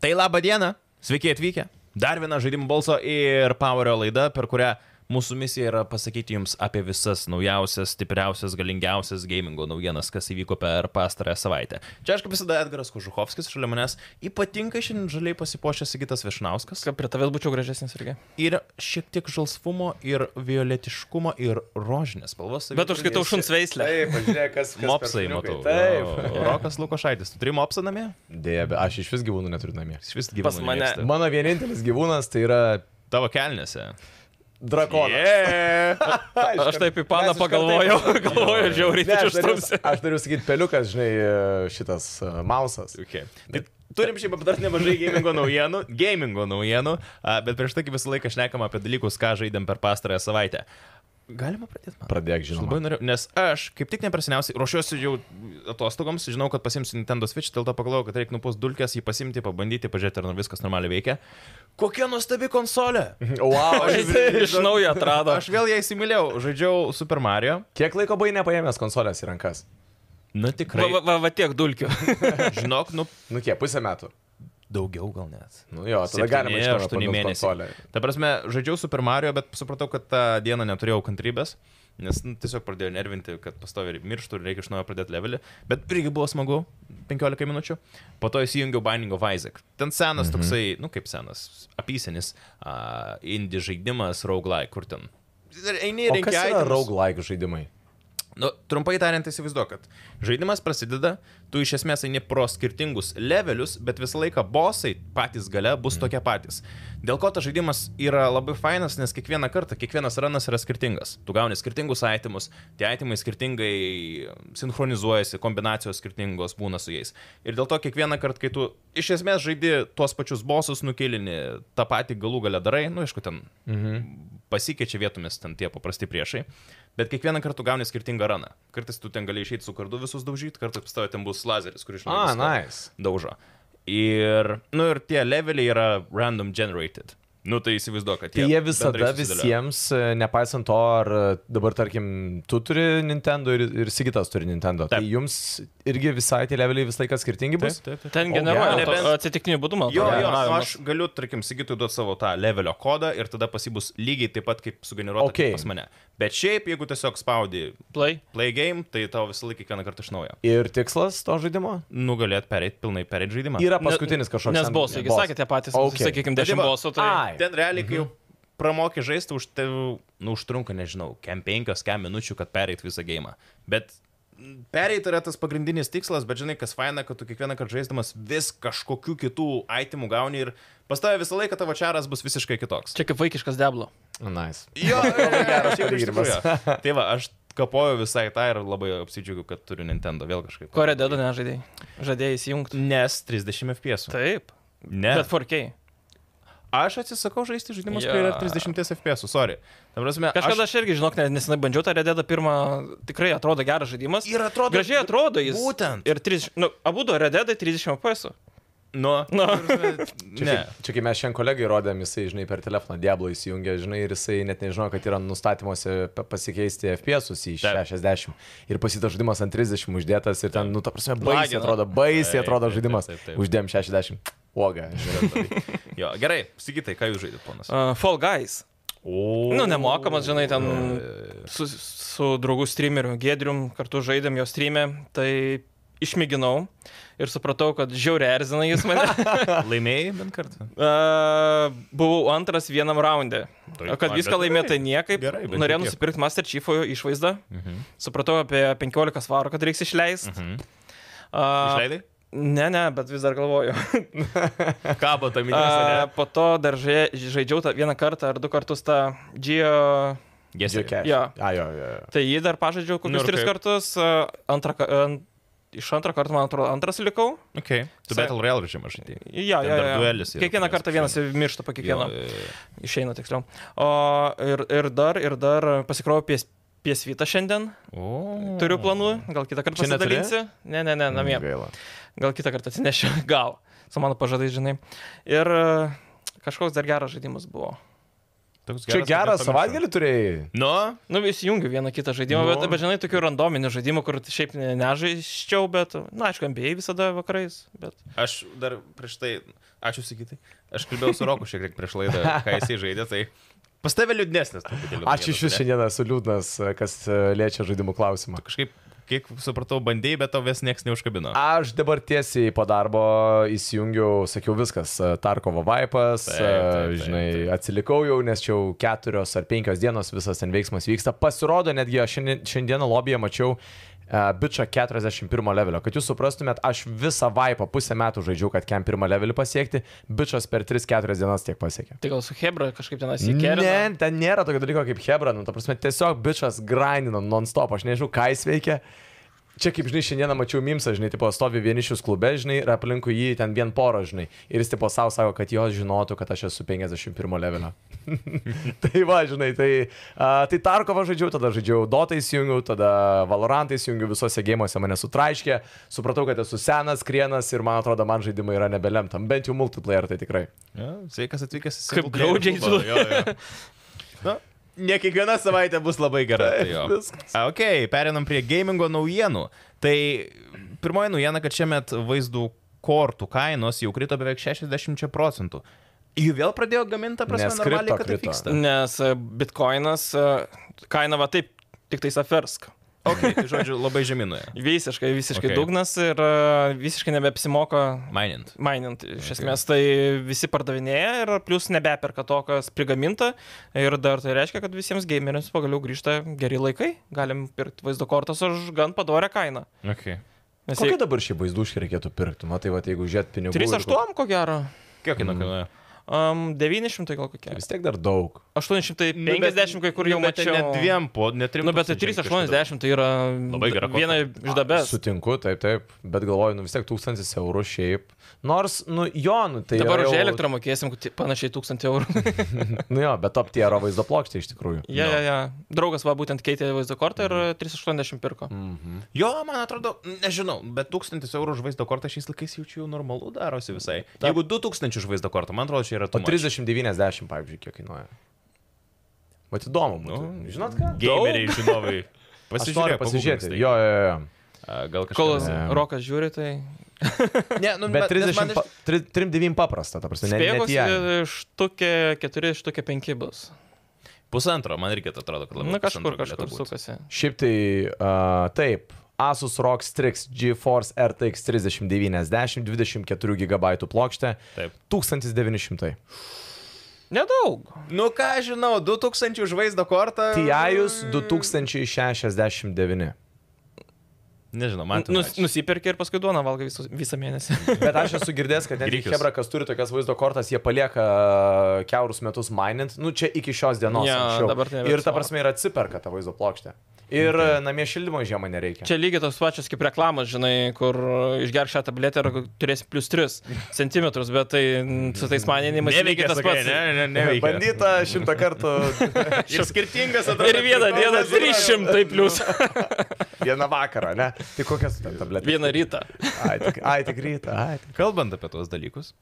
Tai laba diena, sveiki atvykę. Dar viena žaidimų balso ir Powerio laida, per kurią mūsų misija yra pasakyti jums apie visas naujausias, stipriausias, galingiausias gamingo naujienas, kas įvyko per pastarąją savaitę. Čia aš kaip visada Edgaras Kužuhovskis, šalia manęs ypatingai šiandien žaliai pasipošęs Sigitas Višnauskas. Kad prie tavęs būčiau gražesnis irgi. Ir šiek tiek žalsvumo, ir violetiškumo, ir rožinės spalvos. Bet aš skaitau šuns veislę. Taip, pažiūrėk, kas. kas per Mopsai, matau. šuniukai. Taip. O, Rokas Lukošaitis, tu turi mopsą namie? Dėja, bet aš iš vis gyvūnų neturiu namie. Jis vis gyvena. Pas mane. Mano vienintelis gyvūnas tai yra Tavo kelnėse. drakonas. Yeah. Yeah. Aš taip į paną pagalvojau, galvojau, žiauriai, tai Ne, aš, aš dariau, trumsiu. aš dariau sakyti peliukas, žinai, šitas uh, mausas. Okay. Tai turim šiaip aptarti nemažai gamingo naujienų, gamingo naujienų, a, bet prieš tai kaip visą laiką šnekam apie dalykus, ką žaidėm per pastarąją savaitę. Galima pradėti man. Pradėk, Aš labai žinoma. noriu, nes aš kaip tik neprasiniausiai ruošiuosi jau atostogoms, žinau, kad pasimsiu Nintendo Switch, dėl to pagalvojau, kad reikia nupus dulkės, jį pasimti, pabandyti, pažiūrėti, ar nu viskas normaliai veikia. Kokia nuostabi konsolė! Wow, Iš naujo atrado. Aš vėl ją įsimylėjau, žaidžiau Super Mario. kiek laiko buvai nepaėmęs konsolės į rankas? Na Nu, Va, tikrai. va, va, va tiek dulkių. Žinok, nu Nu kiek, pusę metų. daugiau gal net. Nu jo, tada Septyni, galima iš naujo aštuoni pagaut mėnesiai. konsolę. Ta prasme, žaidžiau Super Mario, bet supratau, kad tą dieną neturėjau kantrybės, nes nu, tiesiog pradėjau nervinti, kad pastovi mirštų ir reikia iš naujo pradėti levelį. Bet irgi buvo smagu, 15 minučių. Po to įsijungiau Binding of Isaac. Ten senas mhm. toksai, nu kaip senas, apysenis, uh, indie žaidimas, roguelike, kur ten. Ir Eini ir O reikia kas yra roguelike žaidimai? Nu, trumpai tariant, įsivaizduok, kad žaidimas prasideda, tu iš esmės eini pro skirtingus levelius, bet visą laiką bosai patys gale bus tokie patys. Dėl ko tas žaidimas yra labai fainas, nes kiekvieną kartą, kiekvienas ranas yra skirtingas. Tu gauni skirtingus aitimus, tie aitimai skirtingai sinchronizuojasi, kombinacijos skirtingos būna su jais. Ir dėl to kiekvieną kartą, kai tu iš esmės žaidi tuos pačius bosus, nukilini tą patį galų gale darai, nu, aišku, ten Mhm. pasikeičia vietomis ten tie paprasti priešai, bet kiekvieną kartą tu gauni skirtingą raną. Kartais tu ten gali išeiti su kardu visus daužyti, kartais pas tavę ten bus lazeris, kuris A, viską Ah, nice. daužo. Ir, nu ir tie leveliai yra random generated. Nu tai įsivaizduok, kad Tai jie. jie bendrai visada susidėlioja. visiems, e, nepaisant to, ar e, dabar, tarkim, tu turi Nintendo ir, ir Sigitas turi Nintendo. Taip. Tai jums irgi visai tie leveliai visą laiką skirtingi bus? Taip, taip, taip. Ten O, generuoja gerai. auto- atsitiktiniu būdu, man Jo, jo, nu, generavimas. aš galiu, tarkim, Sigitui duoti savo tą levelio kodą ir tada pasibus lygiai taip pat, kaip sugeneruota Okay. okay. pas mane. Bet šiaip, jeigu tiesiog spaudi Play. play game, tai tau visą laiką kiekvieną kartą iš naujo. Ir tikslas to žaidimo? Nugalėt perėti, pilnai perėti žaidimą. Yra paskutinis kažkoks. Nes ten- bosai, jūs boss. sakėte patys, Okay. okay. sakykime, Tai dešimt va, bosų, tai... ai. Ten realiai, kai jau pramokė žaisti, už tai, nu, užtrunka, nežinau, kem penkios, kem minučių, kad pereit visą gėjimą. Bet pereit yra tas pagrindinis tikslas, bet žinai, kas faina, kad tu kiekvieną kartą žaisdamas vis kažkokių kitų aitimų gauni ir pas tavę visą laiką tavo čaras bus visiškai kitoks. Čia kaip vaikiškas deblo. Nice. Jo, geras palygimas. Tai va, aš kapoju visai tą ir labai apsidžiaugiu, kad turiu Nintendo vėl kažkaip. Korė dedu, nežaidėjai. Žadėjai įsijungti. Nes 30 FPS. Taip. Ne. Bet 4K. Aš atsisakau žaisti žaidimus, Jo. kurie yra 30 FPS, sorry. Ta prasme, Kažkada aš, aš irgi, žinok, ne- nesenai bandžiau tą redėdą pirmą, tikrai atrodo geras žaidimas. Ir atrodo- Gražiai atrodo jis. būtent. Ir 30, nu, abu du redėdai 30 FPS. Nu, Nu. Čia, ne. Kaip, čia kaip mes šiandien kolegai rodėm, jisai, žinai, per telefoną Diablo įsijungė, žinai, ir jisai net nežinojo, kad yra nustatymuose pa- pasikeisti FPS į Taip. 60. Ir pasita žaidimas ant 30 uždėtas ir ten, nu, ta prasme, baisiai Lagina. atrodo, baisiai Taip, atrodo taip, žaidimas. taip, taip, taip. Uždėm 60. Uoga. Jo, gerai, sakytai, ką jūs žaidėte, ponas. Uh, Fall Guys. O. e, Nu, nemokamas, žinai, ten su, su draugu streameriu Gedrium kartu žaidėm jo streamę, tai išmėginau ir supratau, kad žiauriai erzina jis mane. Laimėjai bent kartą. Uh, buvau antras vienam raunde. Tai- O kad ai, viską bet laimėti niekaip, Gerai, bent jau norėjau tiek. nusipirkti Master Chiefo išvaizdą, Mhm. supratau apie 15 svarų, kad reiks išleisti. Mhm. Uh, Išleidai? ne, ne, bet vis dar galvoju. Kabo tam Uh, įdomu. po to dar ža- žaidžiau tą vieną kartą ar du kartus tą Geo Gerai. jo. Ajo, jo. Tai jį dar pažaidžiau Nu kokius ir tris kaip? kartus. a, Antrą, ka- an, iš antro karto, man atrodo, antras likau. Okay. Tu Sa- Battle Royale žaidimą žaidėjai. Ja, Ten ja, dar ja. duelis yra Kiekvieną toks, kartą vienas miršta po kiekvieno. Jo, jo, jo. Išeina tiksliau. O, ir, ir dar, ir dar pasikroviau pies, piesvytą šiandien. O. Turiu planų, gal kitą kartą Čia neturi? pasidalinsiu. Ne, ne, ne, namie. Mm, Gaila. Gal kitą kartą atsinešiu. Gal. e, Su mano pažadai, žinai. Ir a, kažkoks dar geras žaidimas buvo. Toks Čia gerą kad pamiršau. savaitgalį turėjai. Nu, Nu, vis jungiu vieną kitą žaidimą, Nu. bet, bet žinai, tokių randominių žaidimų, kur šiaip ne- nežaisčiau, bet, na, aišku, MBA visada vakarais, bet... aš dar prieš tai, ačiū sakytai, aš kalbėjau su Roku šiek tiek prieš laidą, kai jisai žaidė, tai pas tave liūdnesnis. truputėlį Aš iš naujienos, jūsų ne? šiandien esu liūdnas, kas e, liečia žaidimų klausimą. Kažkaip, kiek supratau, bandėjai, bet to vis nieks neužkabino. Aš dabar tiesiai po darbo įsijungiau, sakiau viskas, e, Tarkovo vaipas, e, Taip, taip, taip, žinai, taip. atsilikau jau, nes čia jau keturios ar penkios dienos visas ten veiksmas vyksta. Pasirodo, netgi aš šiandien, šiandieną lobbyje mačiau uh, bičą 41 levelio. Kad jūs suprastumėt, aš visą vaipą pusę metų žaidžiau, kad kem pirmą levelį pasiekti, bičas per 3-4 dienas tiek pasiekė. Tai gal su Hebra kažkaip ten įsikėlė. Ne, ten nėra tokio dalyko kaip Hebra, nu, ta prasme, tiesiog bičias grindino non-stop, aš nežinau, ką jis veikia. Čia, kaip žinai, šiandieną mačiau Mimsą, žinai, tipo stovi vienišius klube, žinai, ir aplinkui jį ten vien poro, žinai. Ir jis tipo savo sako, kad jos žinotų, kad aš esu 51 levelio. tai va, žinai, tai, uh, tai Tarkovą žaidžiau, tada žaidžiau Dotą įsijungiau, tada Valorantą įsijungiau, visose gėjimuose mane sutraiškė, supratau, kad esu senas, krienas ir man atrodo, man žaidimai yra nebelemtam, bent jau multiplayer tai tikrai. Ja, sveikas atvykęs į Kaip Single Player glaudžiai klubą, jo, jo. Na, Ne kiekviena savaitė bus labai gera. tai jo. viskas. A, Ok, perinam prie gamingo naujienų. Tai pirmoji naujiena, kad šiemet vaizdų kortų kainos jau krito beveik 60 procentų. Jų vėl pradėjo gaminti, ta prasme, Nes kripto normaliai, kad tai krito. vyksta. Nes e, bitkoinas e, kainava taip, tik tai safersk. Ok, tai žodžiu, labai žeminoje. Visiškai, visiškai Okay. okay. dugnas ir e, visiškai nebeapsimoka Mainint. mainant. Iš Okay. esmės tai visi pardavinėja ir plus nebeperka to, kas prigaminta. Ir dar tai reiškia, kad visiems gameriams pagaliau grįžta geri laikai. Galim pirkti vaizdo kortas už gan padorę kainą. Okay. Nes Kokia dabar šį vaizduškį reikėtų pirkti? Matai, va, jeigu žiūrėt pinigų. ir ko- 3,8 ko gero. Kiek jinai kainuoja? Um, 900 gal kokia. Tai Vis tiek dar daug. 850 kai kur jau Nu, bet mačiau. ten Ne dviem po, ne trim. Nu, bet tai tūkstančiais 380 tai yra Labai gera viena iš dabės. Sutinku, taip, taip, bet galvoju, nu vis tiek 1000 eurų šiaip. Nors, nu jo, nu tai... Dabar yra už jau- elektrą mokėsim ti- panašiai 1000 eurų. Nu jo, bet top tiero vaizdo plokštė iš tikrųjų. Nu. ja, ja, ja. Draugas va būtent keitė vaizdo kortą ir 380 pirko. Mm. Mhm. Jo, man atrodo, nežinau, bet 1000 eurų už vaizdo kortą šiais laikais jaučiu jau normalu darosi visai. Ta. Jeigu 2000 už vaizdo kortą, man atrodo, čia yra O tu. 3090, pavyzdžiui, kiek kainuoja. Vat įdomu, nu, Nu, žinot ką? Gameriai, žinovai. Aš Pasižiūrėk, noriu pagūglink pasižiūrėti. tai. Jo, jo, jo. A, Gal Kol kažkas. Ne. Rokas žiūri, tai... Ne, nu, Bet bet 30, man pa, iš- 39 paprasta, ta prasme, ne, ne Spėgos tie. štukė 4, štukė 5 bus. Pusantro, man irgi atrodo, kad labai. Na Nu, kažkur, pusantro galėtų kažkur būt. sukasi. Šiaip tai uh, taip. Asus ROG Strix GeForce RTX 3090 24 GB plokštė Taip. 1900. Nedaug. Nu ką aš žinau, 2000 už vaizdo kortą. TIUS 2069. Nežinau, man. too Nus, much. nusipirkė ir paskui duoną valgo visus, visą mėnesį. Bet aš esu girdėjęs, kad netgi Grikius. Hebra, kas turi tokias vaizdo kortas, jie palieka uh, keurus metus minint, nu čia iki šios dienos. Jo, anksčiau. dabar tai ir ta nebeapsimoka. prasme yra atsiperka ta vaizdo plokštė. Ir okay. namie šildymo žiemą nereikia. Čia lygiai tos pačios kaip reklamos, žinai, kur išgerk šią tabletę ir turėsi plus 3 cm, bet tai mm, su tais maninimais Neveikia lygiai tas sakai, pats. Ne, ne, ne. Bandyta šimtą kartų Ir skirtingas atrodo. Ir vieną dieną 300 plus. vieną vakarą, ne? Tai kokias tu ten tabletės? Vieną rytą. Ai, tik, ai, tik rytą, ai. Tik. Kalbant apie tuos dalykus,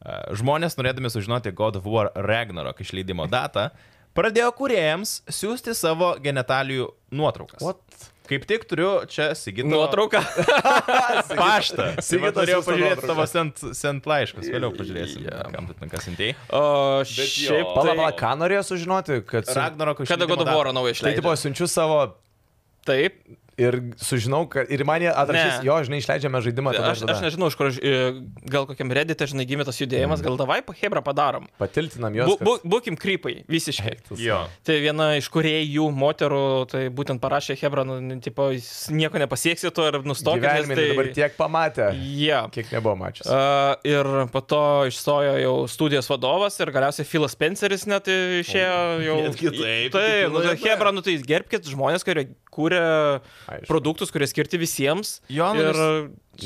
a, žmonės norėdami sužinoti God of War Ragnarok išleidimo datą, pradėjo kuriejams siūsti savo genitalijų nuotraukas. What? Kaip tik turiu čia Sigito Nuotrauka. Paštą. Sigito Sigito norėjau siųstą pažiūrėti nuotrauką. tavo sent, sent laiškus, vėliau pažiūrėsim, Jo. kam tu ten kas sintėjai. O jo. šiaip. Pala, tai- pala, ką norėjo sužinoti, kad... Su... Ragnarok išleidimo Kada God of War datą. naują Tai tipo, išleidžiu? siunčiu savo Taip. ir sužinau, kad... Ir man jie atrašys, Ne. jo, žinai, išleidžiame žaidimą. Tada, Aš, aš nežinau, iš kur, aš, e, gal kokiam redite, žinai, gimė tas Mhm. judėjimas, gal davai, pahebra padarom. Patiltinam Bu, juos. bu, būkim krypai, visiškai. kad... Jo. Tai viena iš kuriejų moterų, tai būtent parašė Hebra, nu, n- tipo, jūs nieko nepasieksite to ir nustokite. nes Gyvenime tai... dabar tiek pamatė, Yeah. kiek nebuvo mačius. Uh, ir po to išstojo jau studijos vadovas ir galiausiai Filas Spenceris net išėjo jau. Netgi taip, Tai, iki pilno nu, tai LP. Hebra, nu tai gerbkite žmonės, kurie kūrė Aišku. produktus, kurie skirti visiems. Jo, nu, ir,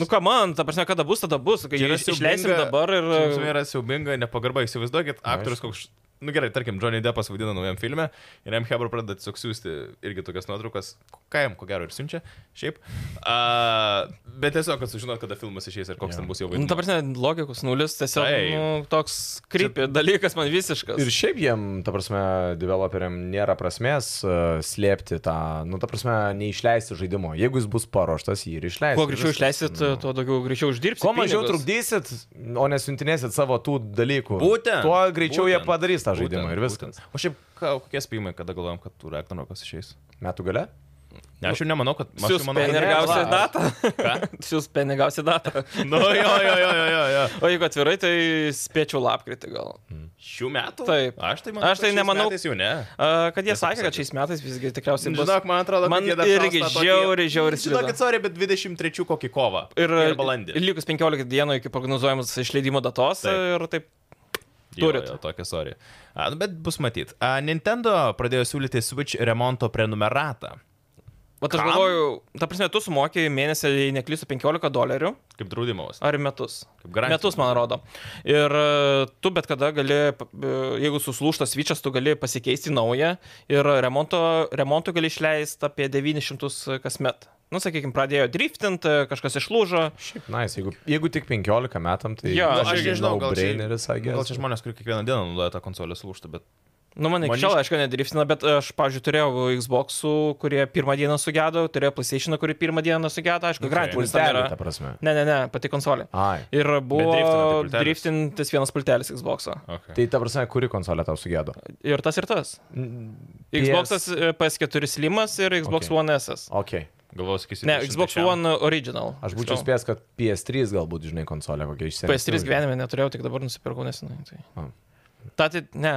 nu ką man, ta prasme, kada bus, tada bus. Kai Čia yra iš, išleisim siaubinga- dabar ir... Čia yra siaubinga nepagarba, įsivaizduokit, aktorius koks nu gerai, tarkim, Johnny Deppas vaidina naujam filme ir jam Hebra pradeda tiesiog siūsti irgi tokias nuotraukas, ką jam ko gero ir siunčia, šiaip. Uh, bet tiesiog, kad sužinot, kada filmas išeis ir koks ten bus jau Nu, vaidmuo. ta prasme, logikos nulis, tiesiog Taip. nu, toks krypė dalykas man visiškas. Ir šiaip jiem, ta prasme, developeriam nėra prasmės uh, slėpti tą, nu, ta prasme, neišleisti žaidimo. Jeigu jis bus paruoštas, jį ir išleisti. Kuo greičiau išleisit, tuo daugiau greičiau uždirbsit. Kuo mažiau pinigus. trukdysit, o nesintinėsit savo tų dalykų. Būtent. Tuo greičiau būtent, jie padarys tą žaidimą būtent, ir viskas. būtent. O šiaip, ką, kokie spėjimai, kada galvojam, kad tų Ragnarokas išeis? Metų gale? Ne, aš jau nemanau, kad... aš jau Siūs manau, kad- penigausi ne, va. datą. Siūs penigausi datą. Nu, jo, jo, jo, jo, jo, jo. O jeigu atvirai, tai spėčiau lapkritį gal. Šių metų? Taip. Aš tai manau, Aš tai kad šiais nemanau- metais Jau ne. A, Kad jie Tiesą sakė, kad pasakius. šiais metais visgi tikriausiai bus. Nu, Žinok, man atrodo, kad Man jie dar irgi šaus tą tokį- žiauriai, žiauriai slida. Žinokit, sorry, bet 23 kokį kovą. Ir, ir balandį. Likus 15 dienų iki prognozuojamos išleidimo datos Taip. taip. ir taip. Jo, Turit. jo, Tokią, sorry. A, nu, bet bus matyt. A, Nintendo pradėjo siūlyti Switch remonto prenumeratą. Bet aš Kam? galvoju, ta prasme, tu sumokėjai mėnesį, jei neklysiu, 15 dolerių Kaip draudimas. ar į metus. Kaip garantija. Metus, man rodo. Ir e, tu bet kada gali, p- e, jeigu suslūštas vyčias, tu gali pasikeisti naują ir remonto, remonto gali išleisti apie 900 kasmet. Nu, sakykime, pradėjo driftint, e, kažkas išlūžo. Šiaip, na, nice. jeigu, jeigu tik 15 metam, tai... Jo, Nu, aš irgi gal čia, braineris, gal čia žmonės, kurie kiekvieną dieną naudoja tą konsolę sulūžtą, bet... Nu, man iki Man šiol, iš- aišku, nedriftina, bet aš, pavyzdžiui, turėjau Xbox'ų, kurie pirmą dieną sugedo, turėjau PlayStation'ą, kuri pirmą dieną sugedo, aišku, Nu, okay. tai Grindpulis ten Pultelį, yra. ta prasme. Ne, ne, ne, pati konsolė. Ai. Ir driftina buvo tai pultelis. driftintis vienas pultelis Xbox'o. Okay. Tai ta prasme, kuri konsolė tau sugėdo? Ir tas ir tas. Xbox'as e, PS4 Slimas ir Xbox Okay. okay. One S. Ok. Galvoju, sakysi. Ne, Xbox One Original. Aš būčiau tiksliau. spėjęs, kad PS3 galbūt, žinai, konsolė kokia išsirinko. PS3 gyvenime neturėjau, tik dabar nusipirkau nesenai. Tai. O. Ta tai, ne,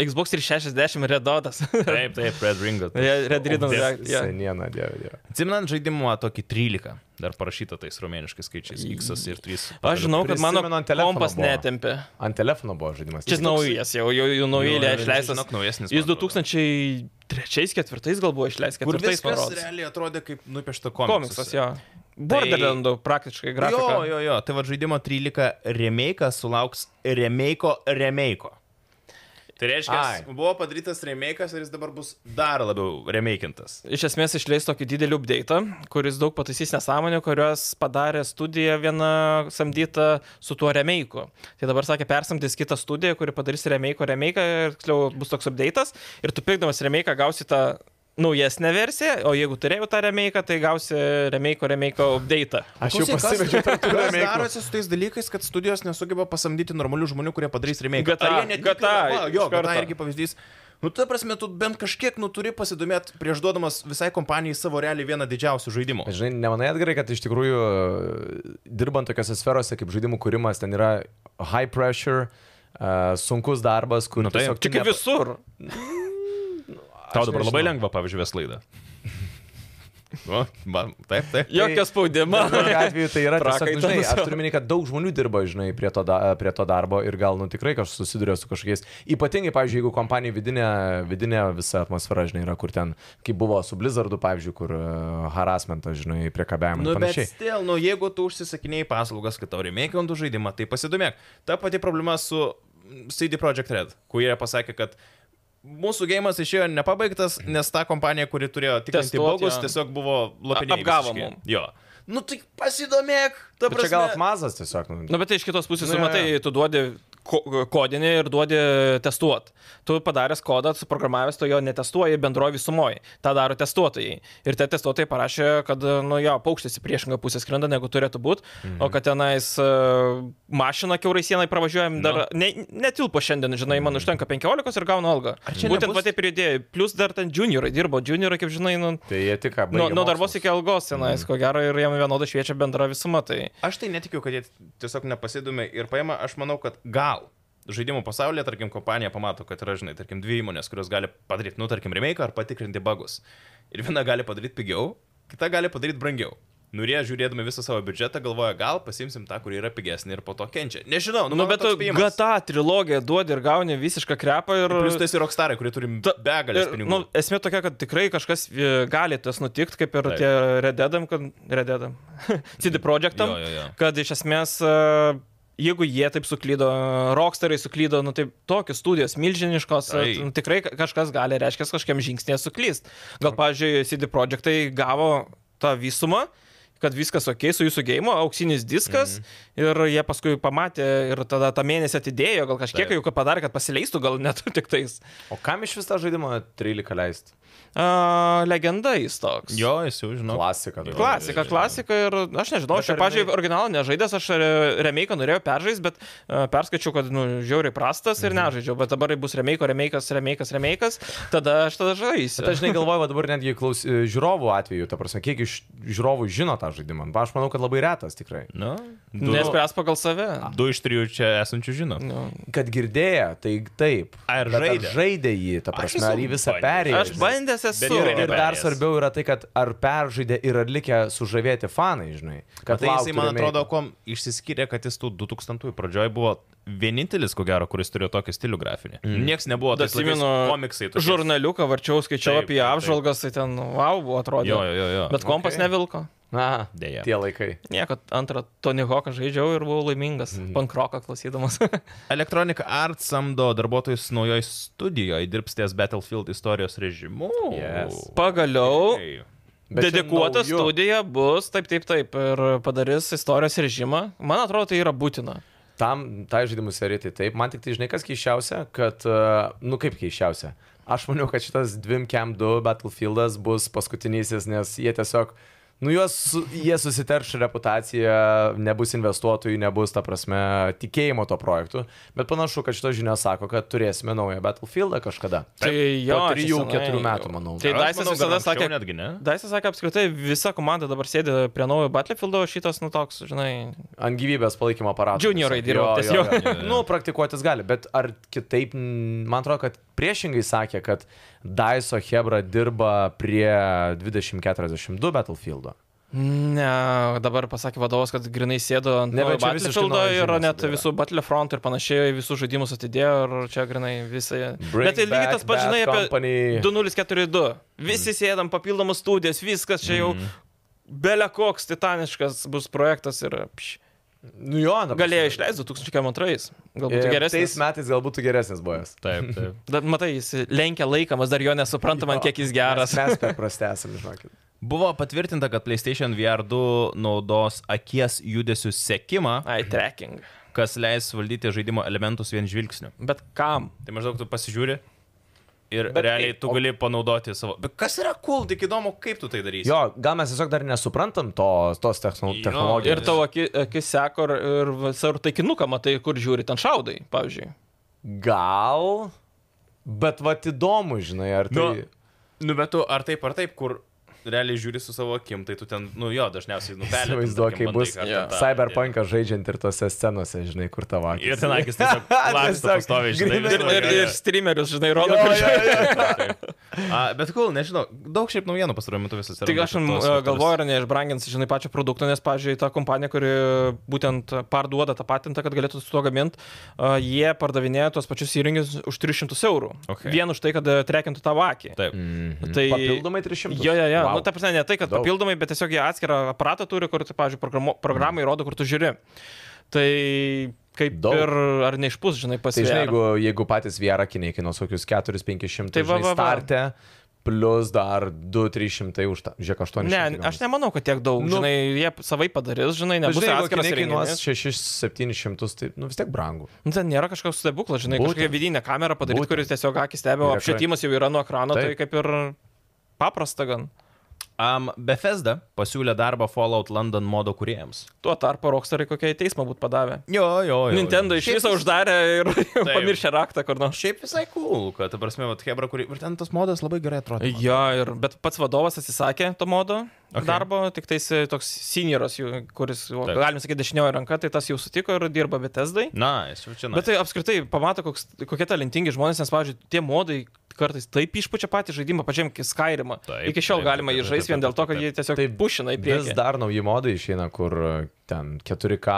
Xbox 360 redodas. Taip, taip, Red Ringo. Red Riddle. O, ja. Seniena, dieve, dieve. Atsimenant žaidimą tokį 13, dar parašyta tais romėniškais skaičiais X ir 3. Aš žinau, kad mano Prisimenu, ant telefono kompas buvo. netempė. Ant telefono buvo žaidimas. Čia naujas, jau, jau, jau naujai Jo, jo, išleistas. žinok, naujesnis, Jis man atrodo. 2003-2004 gal buvo išleistas, Kur ketvirtais viskas parodas. realiai atrodė kaip nupiešta Komiksas, jo. Borderlandų praktiškai grafika. Jo, jo, jo, tai va žaidimo 13 remake sulauks remake remake. Tai reiškia, Ai. buvo padarytas remake ir jis dabar bus dar labiau remakintas. Iš esmės išleis tokį didelį update, kuris daug pataisys nesąmonių, kurios padarė studija viena samdyta su tuo remeiku. Tai dabar sakė, persamdys kitą studiją, kuri padarys remeiko remeiką ir tiksliau bus toks update'as ir tu pirkdamas remeiką gausi tą naujesnę versiją, o jeigu turėjai tą remeiką, tai gausi remeiko remeiko update'ą. Aš jau pasimečiau tarp tų Kas remake'ų. darosi su tais dalykais, kad studijos nesugeba pasamdyti normalių žmonių, kurie padarys remake? GTA, Ar jie net GTA, tikrai- va, jo, iš karto. gata irgi pavyzdys. Nu, ta prasme, tu bent kažkiek, nu, turi pasidomėti prieš duodamas visai kompanijai savo realiai vieną didžiausių žaidimų. Bet Žinai, nemanai atgerai, kad iš tikrųjų dirbant tokiose sferose kaip žaidimų kūrimas, ten yra high pressure, uh, sunkus darbas, kur... Nu, taip. tiesiog tu Čia kaip ne- visur. Tau Aš dabar labai nežinau. lengva, pavyzdžiui, veslaidą. O, man, taip, taip. Jokio spaudimo. Tokiu atveju tai yra tiesiog, nu, Prakaitas. žinai, aš turiu minėti, kad daug žmonių dirba, žinai, prie to, da, prie to darbo ir gal, nu, tikrai kažkas susiduria su kažkokiais, ypatingai, pavyzdžiui, jeigu kompanija vidinė, vidinė visa atmosfera, žinai, yra, kur ten, kaip buvo su Blizzardu, pavyzdžiui, kur uh, harassmentas, žinai, priekabiavimas. Nu, ir bet panašiai. stil, nu, jeigu tu užsisakinėjai paslaugas, kad tau remake antų žaidimą, tai pasidomėk. Ta pati problema su CD Projekt Red, kurie pasakė, kad mūsų gėjimas išėjo nepabaigtas, nes ta kompanija, kuri turėjo tikrinti Testuot, bogus, jo. tiesiog buvo lopinė. A- apgavo mum. Jo. Nu, tai pasidomėk, ta Bet čia gal prasme. atmazas tiesiog, nu, Na, bet tai iš kitos pusės, Nu, nu, jo, matai, jo. tu duodi ko- kodinį ir duodi testuot. Tu padaręs kodą, suprogramavęs, tu jo netestuoji bendroji sumoji. Ta daro testuotojai. Ir tie testuotojai parašė, kad, nu jo, paukštis į priešingą pusę skrenda, negu turėtų būti, mhm. o kad tenais e, mašina keurai sienai pravažiuojam dar, no. ne, netilpo šiandien, žinai, man užtenka 15 ir gaunu algą. čia Būtent nebus- pati pridėjai. Plus dar ten juniorai dirbo, juniorai, kaip žinai, nu... tai jie tik ką. Nuo, nuo darbos iki algos senais, mm. ko gero, ir jam vienodai šviečia bendra visuma. Tai... Aš tai netikiu, kad jie tiesiog nepasidomė ir paima, aš manau, kad gal. Žaidimų pasaulyje, tarkim, kompanija pamato, kad yra, žinai, tarkim, dvi įmonės, kurios gali padaryti, nu, tarkim, remake ar patikrinti bagus. Ir viena gali padaryti pigiau, kita gali padaryti brangiau. Nurie, žiūrėdami visą savo biudžetą, galvoja, gal pasimsim tą, kuri yra pigesnė ir po to kenčia. Nežinau, nu, Nu, mano bet toks tu spėjimas. GTA trilogiją duodi ir gauni visišką krepą ir... Plius tai esi rockstarai, kurie turim Ta- begalės ir, pinigų. Nu, esmė tokia, kad tikrai kažkas e, gali tas nutikti, kaip ir Taip. tie rededam, kad rededam, CD projektam, Jo, jo, jo. kad iš esmės e, jeigu jie taip suklydo, rockstarai suklydo, nu taip, tokios studijos milžiniškos, Tai. nu, tikrai ka- kažkas gali, reiškia, kažkiam žingsnė suklyst. Gal, pavyzdžiui, CD Projektai tai gavo tą visumą kad viskas ok su jūsų gėjimu, auksinis diskas mm. ir jie paskui pamatė ir tada tą mėnesį atidėjo, gal kažkiek Taip. jau ką padarė, kad pasileistų, gal net tik tais. O kam iš vis tą žaidimą 13 leisti? Uh, legenda jis toks. Jo, jis jau žinau. Klasika. dabar. Klasika, klasika ir aš nežinau, Bet aš ar pažiūrėjau, jinai- originalą nežaidęs, aš re- remake'ą norėjau peržaisti, bet e, perskaičiau, kad, nu, žiauriai prastas Mhm. ir nežaidžiau, bet dabar bus remake'o, remake'as, remake'as, remake'as, tada aš tada žaisiu. Bet aš žinai galvoju, va dabar netgi klaus, e, žiūrovų atveju, ta prasme, kiek iš žiūrovų žino tą žaidimą. Va, Aš manau, kad labai retas tikrai. Nu, du, Nespręs pagal save. du iš trijų čia esančių žino. Nu. Kad girdėjo, tai taip. Ar Bet žaidė? Žaidė jį, ta Aš prasme, ar jį esu visą bandęs. perėjo. Aš bandęs esu. ir- Ir, ir dar perėjęs. svarbiau yra tai, kad ar peržaidė ir ar likę sužavėti fanai, žinai. Kad Kad tai jisai, lauktų man remake'o. atrodo, kuom išsiskyrė, kad jis tų 2000-ųjų pradžioj buvo vienintelis, ko gero, kuris turėjo tokį stilių grafinį. Mm. Niekas nebuvo tas Atsimenu komiksai. tokie. žurnaliuką, varčiau, skaičiau Taip, apie taip, taip. apžvalgas, tai ten, wow, buvo atrodė. Jo, jo, jo, jo. Bet kompas Okay. okay. nevilko. Na, Deja. Tie laikai. Nieko, antrą Tony Hawką žaidžiau ir buvau laimingas. Mhm. Mm. Pankroką klausydamas. Electronic Arts samdo darbuotojus naujoje studijoje, dirbs ties Battlefield istorijos režimu. Yes. Pagaliau. Okay. Okay. Bet čia Dedikuota nauju. studija bus, taip, taip, taip, ir padarys istorijos režimą. Man atrodo, tai yra būtina. Tam, tai žaidimų serijai, tai taip. Man tik tai žinai, kas keiščiausia, kad, e, nu kaip keiščiausia. Aš maniau, kad šitas 2M2 Battlefieldas bus paskutinysis, nes jie tiesiog, nu juos, su- jie susiterš reputaciją, nebus investuotojų, nebus, ta prasme, tikėjimo to projektu. Bet panašu, kad šitos žinios sako, kad turėsime naują Battlefieldą kažkada. Tai jo. po trijų, čia senai- keturių metų, manau. Tai Daisas visada sakė, Netgi, ne? Daisas sakė, apskritai visa komanda dabar sėdi prie naujo Battlefieldo, o šitas, nu toks, žinai, Ant gyvybės palaikymo aparato. Juniorai dirba tiesiog. nu, praktikuotis gali, bet ar kitaip, n- man atrodo, kad priešingai sakė, kad Daiso Hebra dirba prie 2042 Battlefield'o. Ne, dabar pasakė vadovas, kad grinai sėdo ant Ne, naujo bet čia visiškai Battlefieldo naujas ir žaidimas net sudėjo. visų Battlefront ir panašiai visus žaidimus atidėjo ir čia grinai visi. bet tai lygiai tas pats, žinai, apie Company... Mm. 2042. Visi sėdam, papildomus studijas, viskas čia jau belia koks titaniškas bus projektas ir pš, Nu jo, dabar. galėjo išleisti 2002. Galbūt Tais geresnis. metais galbūt geresnis buvęs. Taip, taip. Dar, matai, jis lenkia laiką, mes dar jo nesuprantam, ant kiek jis geras. Mes, mes per prasti esame, žinokit. Buvo patvirtinta, kad PlayStation VR 2 naudos akies judesių sekimą, Ai, tracking. kas leis valdyti žaidimo elementus vien žvilgsniu. Bet kam? Tai maždaug tu pasižiūri ir Bet Bet realiai kaip? tu O- gali panaudoti savo. Bet kas yra cool, tik įdomu, kaip tu tai darysi. Jo, gal mes tiesiog dar nesuprantam to, tos techno, Jo, technologijos. Ir tavo aki- akis seko ir, ir visur taikinuką matai, kur žiūri, ten šaudai, pavyzdžiui. Gal. Bet vat įdomu, žinai, ar tai... Nu, Nu, bet tu ar taip ar taip, kur realiai žiūri su savo akim, tai tu ten, nu jo, dažniausiai nupelė. Įsivaizduok, kai bus Jo. Cyberpunką žaidžiant ir tose scenose, žinai, kur tavo akis. Ir ten akis tiesiog laksto Tiesiog pastoviai, žinai. Ir, grynai- visą ir, laiką. ir streamerius, žinai, rodo, kur žiūri. A, bet kol, cool, nežinau, daug šiaip naujienų pastaruoju metu visas. Tik aš jum, e, galvoju, ar neišbrangins, žinai, pačią produktą, nes, pavyzdžiui, ta kompanija, kuri būtent parduoda tą patentą, kad galėtų su to gaminti, jie pardavinėja tos pačius įrenginius už 300 eurų. Okay. Vien už tai, kad e, trekintų tavo akį. Taip. Mm. Mhm. Tai... Papildomai 300. Jo, jo, jo. Vau. Wow. Nu, ta prasme, ne tai, kad Daug. Daug. papildomai, bet tiesiog jie atskirą aparatą turi, kur, tai, pavyzdžiui, programo, programai rodo, kur tu žiūri. Tai kaip Daug. Daug. ir ar neišpūs, žinai, Tai žinai, pasižiūrėti. jeigu, jeigu patys VR akiniai kainuos kokius 4-500 Tai va, va, va. startę, plus dar 2-300 už tą, žiūrėk, 800. Ne, aš nemanau, kad tiek daug, Nu. nu, žinai, jie savai padarys, žinai, nebus Žinai, žinai, jeigu atskiras akiniai kainuos įrenginys. 6-700, tai nu, vis tiek brangu. Nu, ten nėra kažkoks stebuklas, žinai, Būtent. kažkokia vidinė kamera padaryti, Būtent. kuris tiesiog akis stebi, o Ir ekra- apšvietimas jau yra nuo ekrano, tai Taip. kaip ir paprasta gan. Um, Bethesda pasiūlė darbą Fallout London modo kuriejams. Tuo tarpu Rockstarai kokią į teismą būtų padavę. Jo, jo, jo. Nintendo iš viso uždarė ir pamiršė raktą kur nors. Šiaip visai cool, kad, ta prasme, vat Hebra, kuri... Ir ten tas modas labai gerai atrodo. man. Jo, ir, bet pats vadovas atsisakė to modo Okay. okay. darbo, tik tais e, toks senioras, jų, kuris, o, Taip. galim sakyti, dešinioji ranka, tai tas jau sutiko ir dirba Betesdai. Na, esu čia. Bet tai apskritai pamato, koks, kokie talentingi žmonės, nes, pavyzdžiui, tie modai kartais taip išpučia patį žaidimą, pačiam Skyrimą. Taip, Iki šiol taip, galima taip, jį taip, žaisti taip, vien dėl to, kad taip, jie tiesiog Taip, pušina į Vis priekį. dar nauji modai išeina, kur ten 4K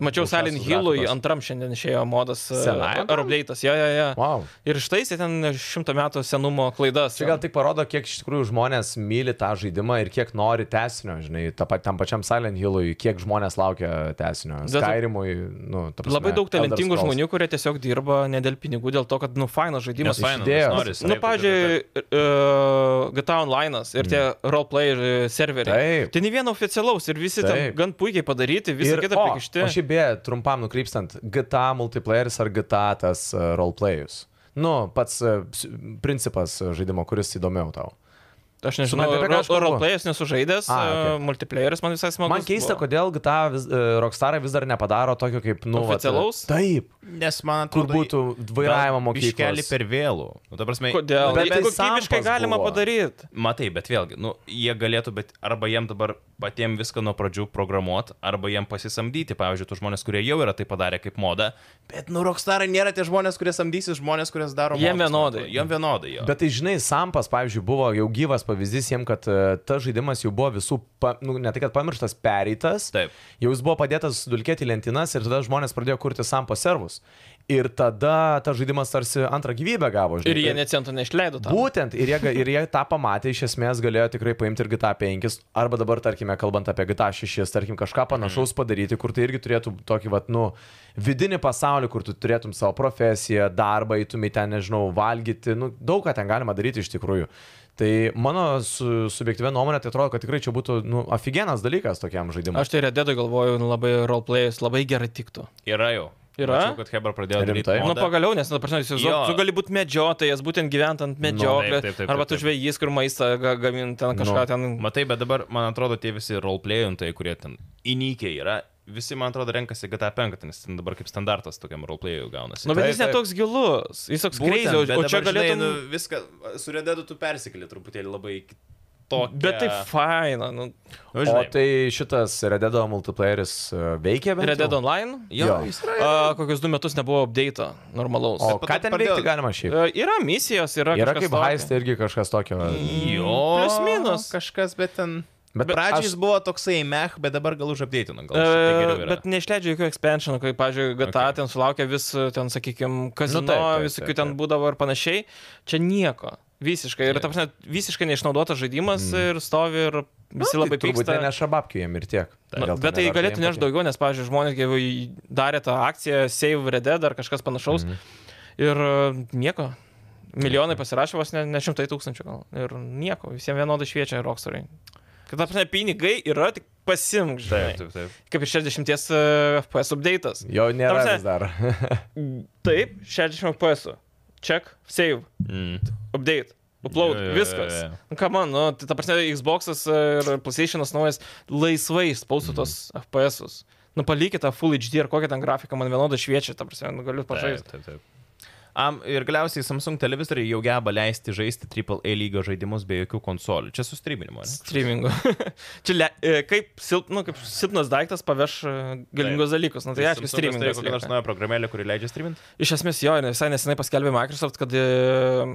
Mačiau Daug Silent šviesios Hillui grafikos. antram šiandien išėjo modas. Senajam tam? Rubleitas, jo, jo, jo. Wow. Ir ištaisė ten šimto metų senumo klaidas. Čia gal tik parodo, kiek iš tikrųjų žmonės myli tą žaidimą ir kiek nori tesinio, žinai, ta, pa- tam pačiam Silent Hillui, kiek žmonės laukia tesinio. Bet- Skyrimui, nu, ta prasme, Labai daug Elder talentingų Scrolls. žmonių, kurie tiesiog dirba ne dėl pinigų, dėl to, kad, nu, fainas žaidimas. Nes faina, idėjos. nes norisi. Na, nu, taip, pavyzdžiui, taip, uh, GTA Online ir tie roleplay e, serveriai. Mm. Taip. Tai ne vieno oficialaus ir visi ten Taip. gan puikiai padaryti, visą Ir- kitą o, prikišti. O šiaip beje, trumpam nukrypstant, GTA multiplayeris ar GTA tas uh, roleplayus. Nu, pats uh, s- principas uh, žaidimo, kuris įdomiau tau. Aš nežinau, Supranti, apie ką aš kalbu? roleplayas nesužaidęs, A, okay. okei. multiplayeris man visai smagu. Man keista, kodėl GTA vis, uh, Rockstarai vis dar nepadaro tokio kaip, nu, vat, Oficialaus? Taip, taip. Nes man kur atrodo, būtų vairavimo Iškeli mokyklos. per vėlų. Nu, ta prasme, Kodėl? Bet Bet tai tai kokybiškai sampas galima buvo. padaryti. Matai, bet vėlgi, nu, jie galėtų, bet arba jiem dabar patiems viską nuo pradžių programuoti, arba jiem pasisamdyti, pavyzdžiui, tų žmonės, kurie jau yra tai padarę kaip moda, bet, nu, rockstarai nėra tie žmonės, kurie samdysis, žmonės, kurie daro. Jiem modus, vienodai. nu, Jiem vienodai. Jo. Bet tai žinai, Sampas, pavyzdžiui, buvo jau gyvas pavyzdys jiem, kad e, tas žaidimas jau buvo visų, pa, nu, ne tai kad pamirštas, pereitas. Taip. Jau jis buvo padėtas sudulkėti į lentynas ir tada žmonės pradėjo kurti Sampo servus. Ir tada tas žaidimas tarsi antrą gyvybę gavo. Žinai, Ir jie necentų neišleido tam. Būtent, ir jie, ga- ir jie tą pamatė, iš esmės galėjo tikrai paimti ir GTA 5, arba dabar, tarkime, kalbant apie GTA 6, tarkim, kažką panašaus Mhm. padaryti, kur tai irgi turėtų tokį, vat, nu, vidinį pasaulį, kur tu turėtum savo profesiją, darbą, įtumai ten, nežinau, valgyti, nu, daug ką ten galima daryti iš tikrųjų. Tai mano su, subjektyvė nuomonė, tai atrodo, kad tikrai čia būtų, nu, aфиgenas dalykas tokiam žaidimui. Aš tai redėdai galvoju, nu, labai roleplayas labai gerai tiktų. Yra jau. Yra? Mačiau, kad Hebra pradėjo daryti. Rimtai? Na, nu, pagaliau, nes, na, prasme, tu, Jo. tu gali būti medžiotojas, būtent gyvent ant medžioklės. taip, taip, taip, Arba taip, tu taip. žvejys, kur maistą ga- gamint, ten kažką Nu. ten. Matai, bet dabar, man atrodo, tie visi roleplayintai, kurie ten įnykiai yra, visi, man atrodo, renkasi GTA 5, nes ten dabar kaip standartas tokiam roleplayui gaunasi. Nu, bet Taip, jis netoks gilus, jis toks Būtent, kreizio, bet o čia dabar, Žinai, galėtum... nu, viską, su Rededu tu persikeli truputėlį labai nu, kitokį. bet tai faina. Nu, Nu, O žinai, tai šitas Rededo multiplayeris e, veikia bent Red Dead jau? Online? Jo, Jo. jis yra. A, kokius du metus nebuvo update normalaus. O Bet po ką to ten pradėjo- veikti galima šiaip? A, yra misijos, yra... Yra kažkas kaip tokio. haistai irgi kažkas tokio. Jo. Plius minus. Kažkas, bet ten. Bet Bet aš- pradžiai jis buvo toksai meh, bet dabar gal užapdėtinu. Gal šiek tiek geriau E, yra. bet neišleidžia jokių expansionų, kaip, pavyzdžiui, GTA Okay. okay. ten sulaukia vis, e, ten, sakykime, kazino, Nu, nu, taip, taip, visokių taip, ten taip. būdavo ir panašiai. Čia nieko. Visiškai. Ir, ta prasme, visiškai neišnaudotas žaidimas mm. ir stovi ir visi labai Mhm. Nu, tai Turbūt pyksta. ne šababkių jiem ir tiek. Na, bet tai galėtų nešti daugiau, nes, pavyzdžiui, žmonės gi jau į- darė tą akciją Save Red Dead ar kažkas panašaus. Mhm. Mm. Ir e, nieko. Milijonai pasirašė vos ne, ne šimtai tūkstančių gal. Ir nieko. Visiems vienodai šviečia rokstoriai. Kad, ta prasme, pinigai yra tik pasimk, žinai. Taip, taip, taip. kaip ir 60 e, FPS update'as. Jo nėra Ta prasme- vis dar. Taip, 60 FPS. -ų. Check, save, Mm. update. Jo, jo, Upload, yeah, yeah, jo, viskas. jo, Yeah, jo. yeah. Nu, kam, nu, tai ta prasme, Xbox'as ir PlayStation'as naujas laisvai spaustų tos Mhm. mm. FPS'us. Nu, palikit tą Full HD ar kokią ten grafiką, man vienodai šviečia, ta prasme, nu, galiu pažaisti. Taip, taip, taip. Am, ir galiausiai Samsung televizoriai jau geba leisti žaisti AAA lygio žaidimus be jokių konsolių. Čia sustrybinimo. Streamingu. Čia le, e, kaip, silp, nu, kaip silpnas daiktas paveš e, galingus dalykus. Na, tai Tai kokia aišku, streamingas. nors nauja programėlė, kuri leidžia streaminti? Iš esmės jo, ir visai nesenai paskelbė Microsoft, kad e,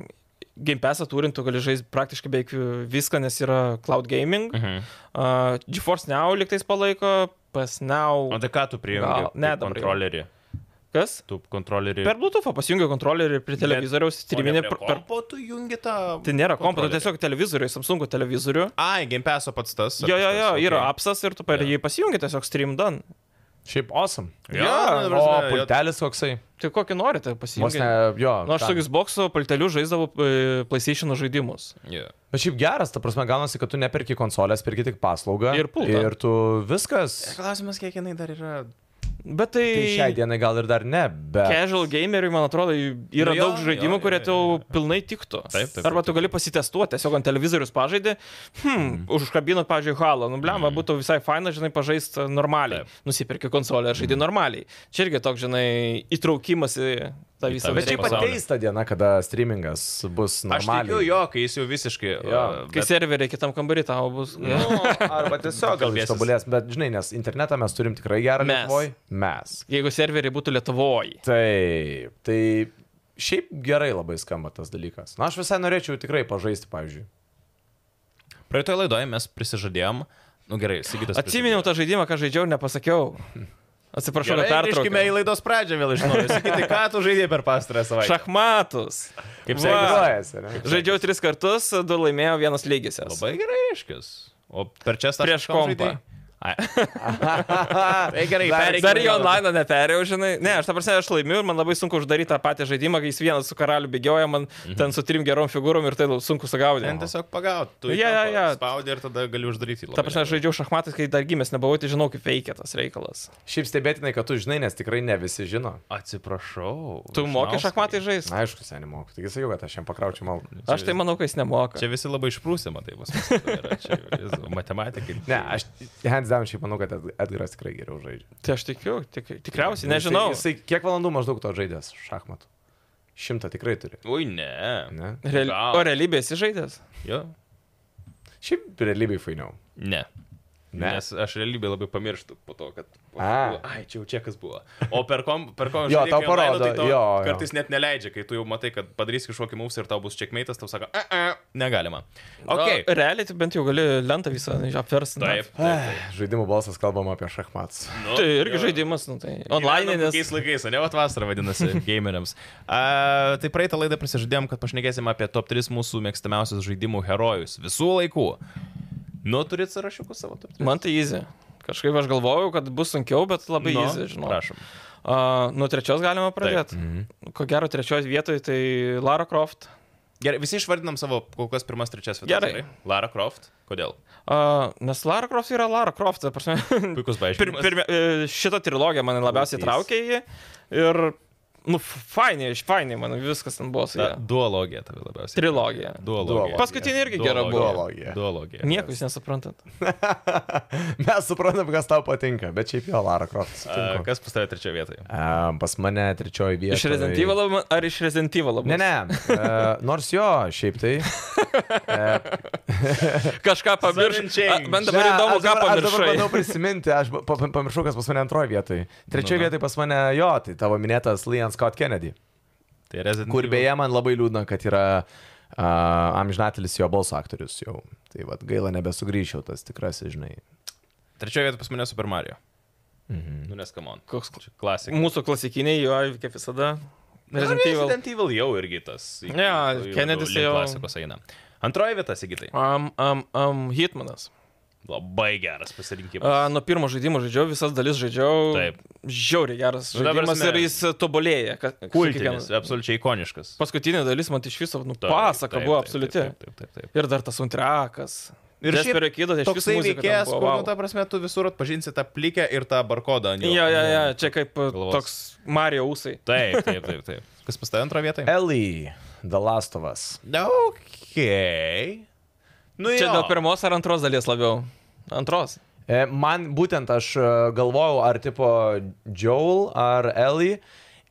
Game Passą turint, tu gali žaisti praktiškai beveik viską, nes yra cloud gaming. Mhm. Mhm. Uh, GeForce Now liktais palaiko, PS Now. O tai ką tu Gal- prijungi? ne, kaip dabar jau. kontrolerį. Kas? Tu kontrolerį. Per Bluetooth pasijungia kontrolerį prie Bet- televizoriaus, streaminė. Per... Po tu jungi tą. Tai nėra kompo, kontrolerį. tai tiesiog televizorių, Samsung televizorių. Ai, GamePaso pats tas. tai ar Jo, jo, kažkas, jo, okei. yra apsas ir tu per Jo. jį pasijungi tiesiog stream done. Šiaip awesome. Jo, Jo, nu, ta O prasme, jo, pultelis koksai. Tai kokį norite Vos pasijungti? ne, jo. Na, nu, aš ten. tokius boksų paltelių žaisdavau e, PlayStation žaidimus. jo. Bet nu, šiaip geras, ta prasme, gaunasi, kad tu neperki konsolės, perki tik paslaugą. Ir pultą. Ir tu viskas. E, Klausimas, kiek jinai dar yra Bet Tai šiai dienai gal ir dar ne, bet... Casual gameriui, man atrodo, Nu yra nu, jo, jo, daug žaidimų, jo, jo, kurie jo, tau jo. pilnai tiktų. Taip, taip, taip, Arba Mhm. tu gali pasitestuoti, tiesiog ant televizorius pažaidė, hmm, užkabinot, pavyzdžiui, halą, nu blem, mm. būtų visai faina, žinai, pažaisti normaliai. Taip. Mhm. Nusipirki konsolę ir žaidži normaliai. Čia irgi toks, žinai, įtraukimas į tą Į visą tą Bet visą reikalą. šiaip pasaulį. ateis ta diena, kada streamingas bus Aš tikiu normaliai. jo, kai jis jau visiškai. Jo. uh, Kai serveriai kitam kambarį tavo bus. Mhm. Arba tiesiog gal jis Kalbėsis. tobulės, bet žinai, nes internetą mes turim tikrai gerą Mes. Lietuvoj. Mes. Jeigu serveriai būtų Lietuvoje. Taip, tai šiaip gerai labai skamba tas dalykas. Na, aš visai norėčiau tikrai pažaisti, pavyzdžiui. Praeitoje laidoje mes prisižadėjom. Nu gerai, Sigitas. Atsiminiau tą žaidimą, ką žaidžiau ir nepasakiau. Atsiprašau, Gerai, grįžkime į nepertraukime. laidos pradžią vėl iš naujo. Sakyti, ką tu žaidėjai per pastarąją savaitę. Šachmatus. Kaip Va. sekasi? Grojasi, ne? Žaidžiau tris kartus, du laimėjau, vienas lygiasias. Labai gerai, reiškis. O per čia stą Prieš kompą. Tai gerai, Dar- pereikime Dar į į laidą. online neperėjau, žinai. Ne, aš tą prasme, aš laimiu ir man labai sunku uždaryti tą patį žaidimą, kai jis vienas su karaliu bėgioja, man ten su trim gerom figūrom ir tai la- sunku Ten sugaudyti. tiesiog pagaut. Tu Nu, Jo, yeah, jo, yeah, jo. yeah. spaudi ir tada gali uždaryti. labai Ta prasme, aš lengvai. žaidžiau šachmatus, kai dar gimęs nebuvau, tai žinau, kaip veikia tas reikalas. Šiaip stebėtinai, kad tu žinai, nes tikrai ne visi žino. Atsiprašau. Tu moki Vyšnauskai. šachmatai žaisti? Na, aišku, seniai moku. Taigi sakiau, kad aš jam pakraučiau malku. Aš tai manau, kad jis nemoka. Čia visi labai išprūsė, matai, pas mus. yra. Čia jėzau, Matematikai. Ne, aš hands down šiaip manau, kad Ed- Edgaras tikrai geriau žaidžia. Tai aš tikiu, tik, tikriausiai, nežinau. Jisai, jisai kiek valandų maždaug to žaidės šachmatų? Šimtą tikrai turi. Ui, ne. Ne? Real... Gal. O realybės įžaidęs? Jo? Šiaip realybėj fainiau. Ne. Ne. Nes aš realybėje labai pamirštu po to, kad... A. Ai, čia jau čia kas buvo. O per kom... Per kom Jo, žaidėjai, tau kai online, parodo, tai tau jo, jo. Kartais net neleidžia, kai tu jau matai, kad padarys kažkokį mūsų ir tau bus čekmeitas, tau sako, a, a, negalima. Nu, Ok. O Realiai, tai bent jau gali lentą visą apversti. Taip, taip. Žaidimų balsas kalbam apie šachmatus. Nu, Tai irgi jo. žaidimas, nu tai. Online, Gyvenam nes. Kokiais laikais, ne, vat vasara vadinasi gameriams. A, tai praeitą laidą prisižadėjom, kad pašnekėsim apie top 3 mūsų mėgstamiausius žaidimų herojus visų laikų. Nu, turit sąrašiukus savo top 3. Man tai easy. Kažkaip aš galvojau, kad bus sunkiau, bet labai Nu, easy, žinau. Prašom. Uh, nuo trečios galima pradėti. Mhm. Ko gero, trečioje vietoje tai Lara Croft. Gerai, visi išvardinam savo kol kas pirmas, trečias vietas. Gerai. Lara Croft. Kodėl? Uh, nes Lara Croft yra Lara Croft, ta prasme. Puikus Hm. Pir, paaiškinimas. pirmia, e, šitą trilogiją man labiausiai Puikiai. traukė į jį. Ir, nu, fainai, iš fainai man viskas ten buvo su Ta, ja. duologija tave labiausiai. Trilogija. Duologija. Paskutinė irgi gera buvo. Duologija. Duologija. Nieko jūs nesuprantat. Mes suprantam, kas tau patinka, bet šiaip jo, Lara Croft. A, sutinku. Kas pas tave trečioje vietoje? A, Pas mane trečioji vieta. tai- Iš Resident Evil labiau- ar iš Resident Evil labiau? Ne, ne. A, Nors jo, šiaip tai. Kažką pamiršau. Seven Change. Man dabar įdomu, ką aš dabar- Aš dabar bandau pamiršau. prisiminti, aš pa- pa- pamiršau, kas pas mane antroje vietoje. Trečioje Nu, nu. vietoje pas mane jo, tai tavo minėtas Lian Scott Kennedy. Tai Resident Kur beje man labai liūdna, kad yra uh, amžinatelis jo balso aktorius jau. Tai vad gaila nebesugrįšiau tas tikrasis, žinai. Trečioje vietoje pas mane Super Mario. Mhm. Nu, nes kamon. Koks Klasika. Mūsų klasikiniai, jo, kaip visada. Resident Resident, Evil. Resident Evil jau irgi tas. į- Ne, labiau Kennedys link jau- Klasikos eina. Antroji vieta, Sigitai. Um, um, um, Hitmanas. Labai geras pasirinkimas. A, nuo pirmo žaidimo žaidžiau, visas dalis žaidžiau. Taip. Žiauriai geras Nu, ta žaidimas prasme, ir jis e, tobulėja. ka- Kultinis, kiekvieną- absoliučiai ikoniškas. Paskutinė dalis man tai iš viso, nu, Taip, pasaka taip, buvo taip, absoliuti. Taip, taip, taip. taip. Ir dar tas antrakas. Ir šiaip kido, tai iš viso Toksai muzika ten veikėjas, buvo, kur, vau. nu, ta prasme, tu visur atpažinsi tą plikę ir tą barkodą. ant jo. Mm. Jo, jo, jo, čia kaip a, Galvos. toks Mario Usai. Taip, taip, taip, taip. Kas pas tai antroje vietoje? Ellie, The Last of Us. Na, ok. Nu, Čia jo. dėl pirmos ar antros dalies labiau. Antros. E, Man būtent aš e, galvojau, ar tipo Joel ar Ellie.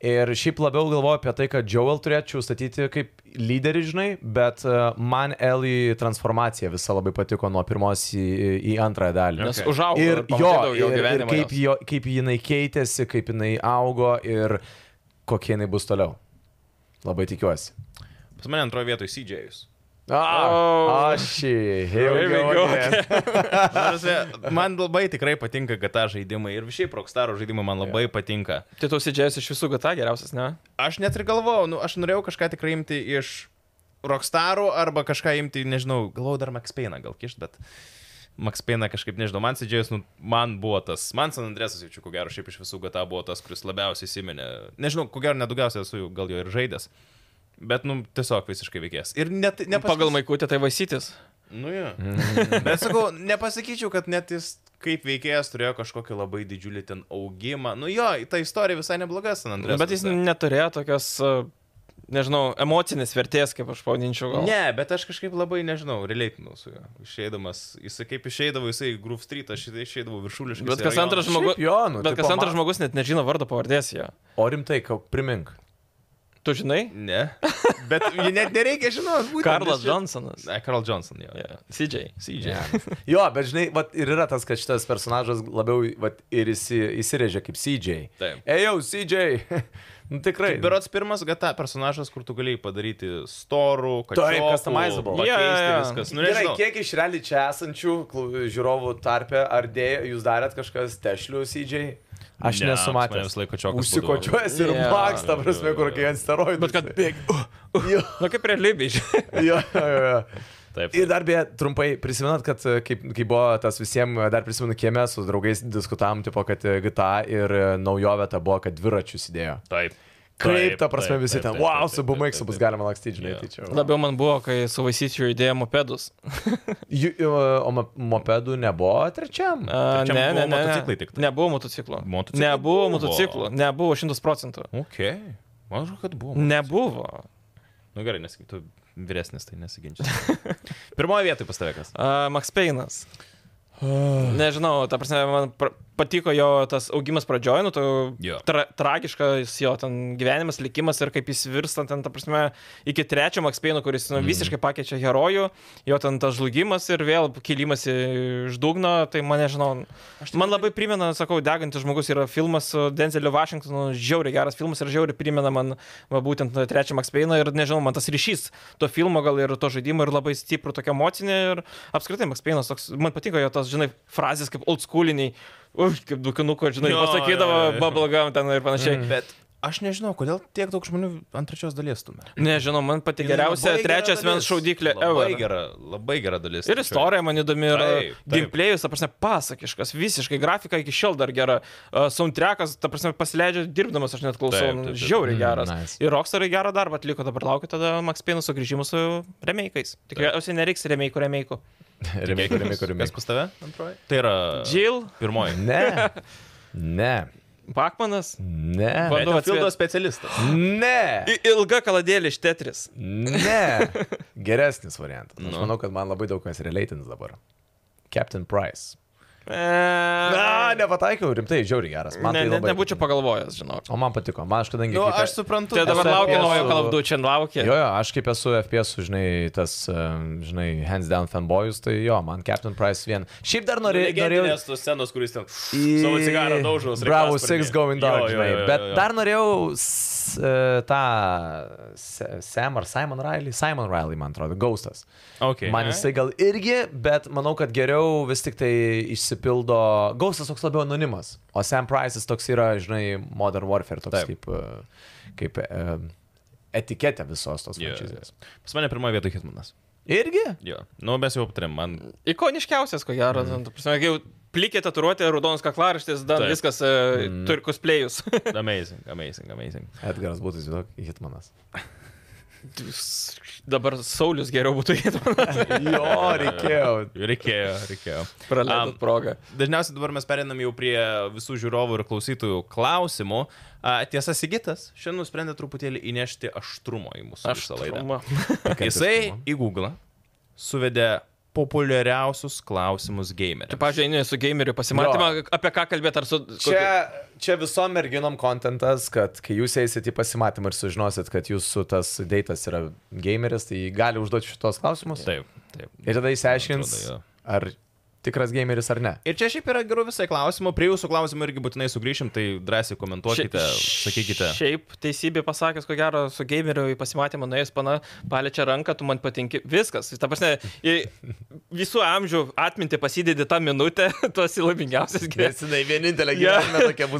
Ir šiaip labiau galvoju apie tai, kad Joel turėčiau statyti kaip lyderį, žinai, bet e, man Ellie transformacija visa labai patiko nuo pirmos į, į antrąją dalį. Nes Ok. užaugo. ir jo, pamatydavau ir, ir gyvenimą kaip, jos. jo, kaip jinai keitėsi, kaip jinai augo ir kokie jinai bus toliau. Labai tikiuosi. Pas mane antroje vietoje CJ'us. Oh. Aš šį. Here we go Man labai tikrai patinka GTA žaidimai ir šiaip Rockstaro žaidimai man labai patinka. Tai tau sidžiais iš visų gata geriausias, ne? Aš net ir galvojau, nu, aš norėjau kažką tikrai imti iš Rockstarų arba kažką imti, nežinau, galvojau dar Max Payne gal kišt, bet Max Payne kažkaip, nežinau, man Sidžėjus, nu, man buvo tas, man San Andresas, jaučiu, ko gero, šiaip iš visų GTA buvo tas, kuris labiausiai įsiminė. Nežinau, ko gero, nedaugiausiai esu jau gal jo ir žaidęs. Bet, nu, tiesiog visiškai veikės. Ir net, Ne nepasakysiu- pagal maikutę tai vaisytis. Nu, jo. Bet sakau, nepasakyčiau, kad net jis kaip veikėjas turėjo kažkokį labai didžiulį ten augimą. Nu jo, ta istorija visai nebloga, San Andrės. Bet jis neturėjo tokios, a, nežinau, emocinės vertės, kaip aš pavadinčiau. Gal. Ne, bet aš kažkaip labai, nežinau, relėtinau su juo. Išeidamas, jisai kaip išeidavo, jisai į Groove Street, aš jisai išeidavau viršuliškai. Bet kas antras Šiaip žmogus. jo, nu, Bet tai tipo, kas antras ma- žmogus net nežino vardo pavardės jo. O rimtai, ką primink. Tu žinai? Ne. Bet jį net nereikia žinoti, būtent. Karlas Johnsonas. Ne, Karl Johnson, jo. Yeah. CJ. CJ. Jo, bet žinai, vat, ir yra tas, kad šitas personažas labiau vat, ir įsi, įsirėžia kaip CJ. Taip. Ejau, CJ. nu, tikrai. Berots pirmas gata personažas, kur tu galėjai padaryti storų, kad... customizable. Pakeisti Jo, jo, jo. viskas. Nu, Gerai, nežinau. kiek iš realiai čia esančių klu- žiūrovų tarpe, ar dėjo, jūs darėt kažkas tešlių CJ? Aš Ne, nesu pas mane matęs. visą laiką čiokas Užsikočiuojas ir Jo, maksta, jo, prasme, jo, kur jo. kai ant steroidų. Bet kad bėg. Jo, Nu kaip realybėj. žinai. jo, jo, jo. Taip. Ir dar beje, trumpai prisimenat, kad e, kaip, kaip buvo tas visiems, e, dar prisimenu, kieme su draugais diskutavom, tipo, kad e, GTA ir e, naujovė ta buvo, kad dviračius įdėjo. Taip. Kaip Taip, ta prasme taip, visi taip, ten, taip, wow, taip, su taip, bumiksu taip, bus taip. galima lakstyti, žinai, Jo. tai čia. Labiau man buvo, kai su vaisyčiu judėjimo pedus. Ju- ju- O mo- mopedų nebuvo trečiam? A, Trečiam ne, buvo ne, ne. motociklai tik tai. Nebuvo motociklų. Motociklai Nebuvo buvo. motociklų. Nebuvo šimtas procentų. Ok. Man atrodo, kad buvo. Nebuvo. Nu gerai, nes tu vyresnis, tai nesiginčiu. Pirmoje vietoje pas tave kas? A, Max Payne'as. Nežinau, ta prasme, man pra- patiko jo tas augimas pradžioj, nu, to Jo. tra tragiškas jo ten gyvenimas, likimas ir kaip jis virsta ten, ta prasme, iki trečio Makspėjino, kuris Mhm. nu, visiškai pakeičia herojų, jo ten tas žlugimas ir vėl kilimas į- iš dugno, tai mane, žinau, man labai primena, sakau, degantis žmogus yra filmas su Denzeliu Vašingtonu, žiauriai geras filmas ir žiauriai primena man va, būtent nu, trečią Makspėjino ir nežinau, man tas ryšys to filmo gal ir to žaidimo ir labai stiprų tokia emocinė ir apskritai Makspėjinas toks, man patiko jo tas, žinai, frazės kaip old schooliniai. Uff, kaip dukinuko, žinai, Jo, pasakydavo, jo, jo, jo. bubblegum ten ir panašiai. Mhm. Bet aš nežinau, kodėl tiek daug žmonių ant trečios dalies stumia. Nežinau, man pati Jinai Tai geriausia labai gera trečias mens dalis. šaudyklė Labai ever. gera, labai gera dalis. Ir istorija man įdomi, ir Taip, taip. gameplayus, ta prasme, pasakiškas, visiškai, grafika iki šiol dar gera, Uh, soundtrackas, ta prasme, pasileidžia dirbdamas, aš net klausau, Taip, nu, taip, taip. žiauriai Mm, geras. nice. Ir Rockstarai gerą darbą atliko, dabar laukiu tada Max Payne sugrįžimų su remake'ais. Tikriausiai nereiks remake'ų, remake'ų. Remake, remake, Kas remake. pas tave? Antroji. Tai yra. Jill, Pirmoji. Ne. Ne. Bakmanas, Ne. Vat- Bandau Fildo atspėt. specialistas. Ne. I- ilga kaladėlė iš Tetris. Ne. Geresnis variantas. Aš Nu. manau, kad man labai daug kas relatinis dabar. Captain Price. E, Na, Na, nepataikiau, rimtai, žiauriai geras. Man tai labai... nebūčiau pagalvojęs, žinau. O man patiko, man aš kadangi... Nu, kaip- aš suprantu. Tai dabar esu laukiu FPS naujo su- kalbdų, čia laukiu. Jo, jo, aš kaip esu FPS, su, žinai, tas, em, žinai, hands down fanboyus, tai jo, man Captain Price vien. Šiaip dar norė, Nu, norėjau... Legendinės tos scenos, kuris ten Į- savo cigarą daužos. Bravo, six going dark, žinai. Bet dar norėjau s- e, tą Se- Sam ar Simon Riley, Simon Riley, man atrodo, Ghostas. Okay. Man jisai gal irgi, bet manau, kad geriau vis tik tai išsipildo. Gausas toks labiau anonimas, o Sam Price'as toks yra, žinai, Modern Warfare, toks Taip. kaip, e, kaip e, etiketė visos tos Jo, jo, franšizės. jo. Pas mane pirmoje vietoje Hitmanas. Irgi? Jo. Nu, mes jau aptarėm, man Ikoniškiausias, ko gero, mm. prasme, kai jau plikė tatuiruotė, raudonas kaklaraištis, dar Taip. Taip. viskas uh, mm. turkus plėjus. amazing, amazing, amazing. Edgaras būtų įsivaizduok, Hitmanas. Dabar Saulis geriau būtų įdomu. jo, reikėjo. Reikėjo, reikėjo. Praleidot Am. progą. Dažniausiai dabar mes perinam jau prie visų žiūrovų ir klausytojų klausimų. A, tiesa, Sigitas šiandien nusprendė truputėlį įnešti aštrumo į mūsų Aš visą laidą. laidau. Jisai į Google suvedė populiariausius klausimus gameriai. Čia, pavyzdžiui, eini su gameriu pasimatymą, apie ką kalbėt, ar su... Čia, čia visom merginom kontentas, kad kai jūs eisit į pasimatymą ir sužinosit, kad jūsų tas deitas yra gameris, tai gali užduoti šitos klausimus. Taip, taip. Ir tada išsiaiškins, Atrodo, jo. ar tikras gameris ar ne. Ir čia šiaip yra gerų visai klausimų, prie jūsų klausimų irgi būtinai sugrįšim, tai drąsiai komentuokite, Šia- sakykite. Šiaip teisybė pasakęs, ko gero, su gameriu į pasimatymą nuėjęs pana, paliečia ranką, tu man patinki, viskas. Ta prasme, į visų amžių atminti pasidėdi tą minutę, tu esi laimingiausias gyvenime. jinai vienintelė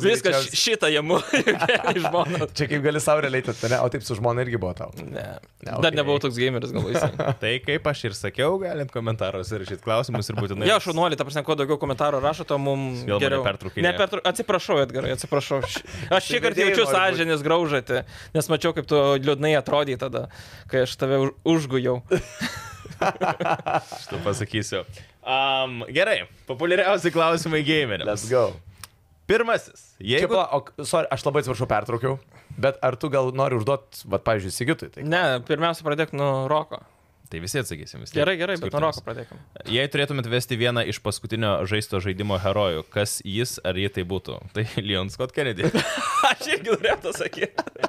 Viskas ši- šitą jamu, iš žmonos. Čia kaip gali saulė leitot, ne? O taip su žmona irgi buvo tau. Ne. Ne, ne okei. Dar nebuvau toks gameris, galvojai. Tai kaip aš ir sakiau, galint komentaruose rašyti klausimus ir būtinai. Jo, šaunuolį, ta prasme, kuo daugiau komentarų rašo, to mums Vėl mane geriau. pertraukinėja. Nepertrauk... Atsiprašau, Edgarai, atsiprašau. Š- Aš šį kartą Vedėjai jaučiu nori būt. sąžinės graužatį, nes mačiau, kaip tu liūdnai atrodai tada, kai aš tave už- užgujau. Aš tu pasakysiu. Um, gerai, populiariausi klausimai gameriams. Let's go. Pirmasis. Čia, Jeigu... pala, o, sorry, aš labai atsiprašau, pertraukiau, bet ar tu gal nori užduot, va, pavyzdžiui, Sigitui? Tai? Ne, pirmiausia, pradėk nuo roko. Tai visi atsakysim. vis tiek. Gerai, gerai, bet nuo Skirtumas. roko pradėkime. Jei turėtumėt vesti vieną iš paskutinio žaisto žaidimo herojų, kas jis ar ji tai būtų? Tai Leon Scott Kennedy. Aš irgi norėjau tą sakyti.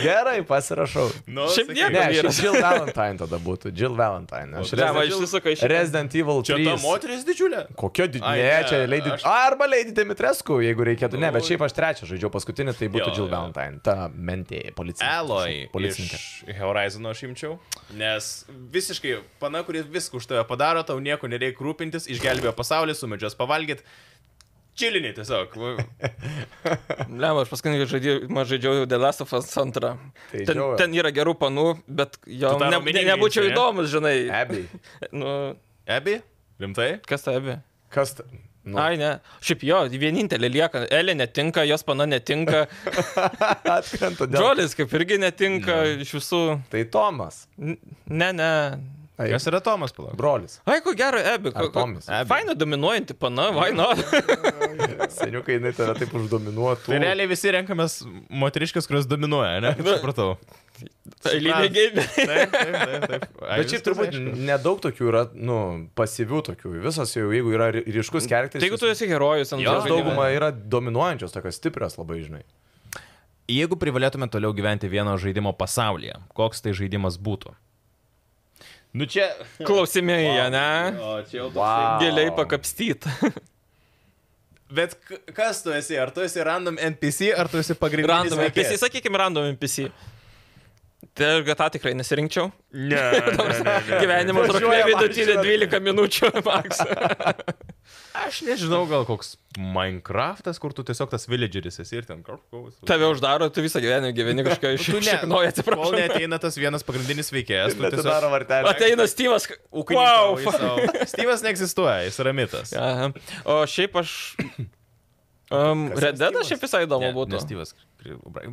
Gerai, pasirašau. Nu, Šiaip sakyk. nieko. Ne, vyras. aš Jill Valentine tada būtų. Jill Valentine. Aš O, Ne, Resident man Resident, Evil- išsisuka iš... Resident Evil 3. Čia ta moteris didžiulė. Kokia didžiulė? Ai, Ne, ne, čia Lady... Aš... aš- Arba Lady Dimitrescu, jeigu reikėtų. Ne, bet Nu, šiaip aš trečią žaidžiau paskutinį, tai būtų Jo, Jill jo. Valentine. Ta mentėja, policija. Alloy. Policininkė. Iš Horizono aš imčiau. Nes visiškai pana, kuris viską už tave padaro, tau nieko nereikia rūpintis, išgelbėjo pasaulį, sumedžios pavalgyt. Čiliniai tiesiog. Va, Ne, aš paskutinį žaidimą žaidžiau The Last of Us 2. Tai Ten, žiauriai. ten yra gerų panų, bet jo Tu tą ne, ne, omeny ginčą, nebūčiau ne? įdomus, žinai. Abby. Nu, Ebi, rimtai? kas ta abi? Kas? ta- Nu, Nu. Ai, ne. Šiaip jo, vienintelė lieka. Elė netinka, jos pana netinka. atkrenta dėl. Džolis kaip irgi netinka iš visų. Tai Tomas. N- Ne, ne. Ai, Kas yra Tomas, palauk? brolis. Ai, ko gero, Ebi. Ar Tomis? Faina dominuojanti pana, vaino. Seniukai, jinai tave taip uždominuotų. Tai realiai visi renkamės moteriškės, kurios dominuoja, ne? Supratau. Eiliniai gėjimai. Taip, taip, taip. taip. Ai, Bet šiaip viskas turbūt aišku. nedaug tokių yra, nu, pasyvių tokių. Visos jau, jeigu yra ry- ryškus kertis, Tai jeigu tu esi herojus, ant Jo, to jos žaidimo. dauguma yra dominuojančios, tokios stiprios labai, žinai. Jeigu privalėtume toliau gyventi vieno žaidimo pasaulyje, koks tai žaidimas būtų? Nu čia. Klausimai, jie, ne? O čia jau Wow. Giliai pakapstyt. Bet k- kas tu esi? Ar tu esi random NPC, ar tu esi pagrindinis? Random NPC, veikėjas? sakykime, random NPC. Tai aš tą tikrai nesirinkčiau. Ne. ne, ne, ne. Gyvenimo trukmė Važiuoja vidutinė mašina. 12 minučių maks. Aš nežinau, gal koks Minecraftas, kur tu tiesiog tas villageris esi ir ten kažkoks. Nu, Tave uždaro, tu visą gyvenimą gyveni kažką iš šiknoja, Kol atsiprašau. neateina tas vienas pagrindinis veikėjas, tu Atidaro tiesiog... vartelį. Ateina Steve'as. k- Wow. ūkininkauji sau. Steve'as neegzistuoja, jis yra mitas. Aha. O šiaip aš... Um, Kas yra Red Dead Steve'as? šiaip visai įdomu Ne, būtų. ne Steve'as.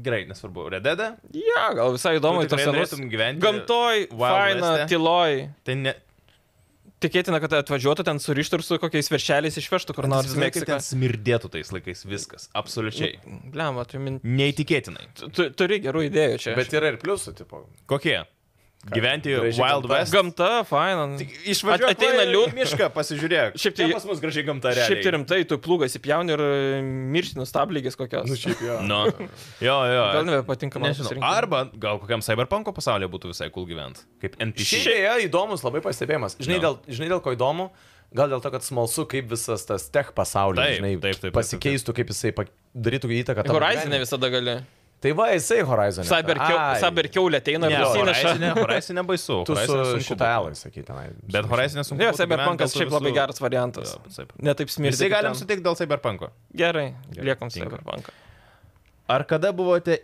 Gerai, nesvarbu. Rededa, Ja, gal visai Tu įdomu į tos tikrai senus. norėtum gyventi Gamtoj, Wild faina, Weste? tyloj. tai ne... Tikėtina, kad atvažiuotų ten surištų ir su kokiais veršeliais išvežtų kur nors į Įsivaizduoju, kaip Meksiką. ten smirdėtų tais laikais viskas. Absoliučiai. Bliam, atmin. Neįtikėtinai. Tu, tu- turi gerų idėjų čia. Bet yra ir pliusų, tipo. Kokie? Gyventi graži Wild gamta. West. Gamta, faina. Išvažiuok, At- ateina va, liū- į mišką, pasižiūrėk. Šiaip Čia tai- pas mus gražiai gamta realiai. Šiaip tai rimtai, tu plūgas įpjauni ir e, mirštinus tablygis kokios. Nu, šiaip jau. Nu. Jo, jo. Gal nebepatinka man Nežinau. pasirinkti. Arba gal kokiam cyberpunko pasaulyje būtų visai cool gyventi. Kaip NPC. Šiaip įdomus labai pastebėjimas. Žinai, Jo. dėl, žinai dėl ko įdomu? Gal dėl to, kad smalsu, kaip visas tas tech pasaulis Taip, žinai, taip, taip, taip, pasikeistų, kaip jisai pa- darytų įtaką. tavo Horizonė gyvenimui. visada gali. Tai va, jisai Horizon. Cyberkiau- Cyberkiaulė ateina ir Ne, nusineša. Horizonė, horizonė baisu. Tu su Horizone sunku šitą būtų. Elą, sakyk, tenai. Bet Horizonė sunku. būtų gyvent, Ne, gal Cyberpunkas tu šiaip visų- labai geras variantas. Jo, bet taip. Netaip smirti. Visi kaip galim ten. sutikti dėl cyberpunko. Gerai, Gerai, liekam tinka. Cyberpunką. Ar kada buvote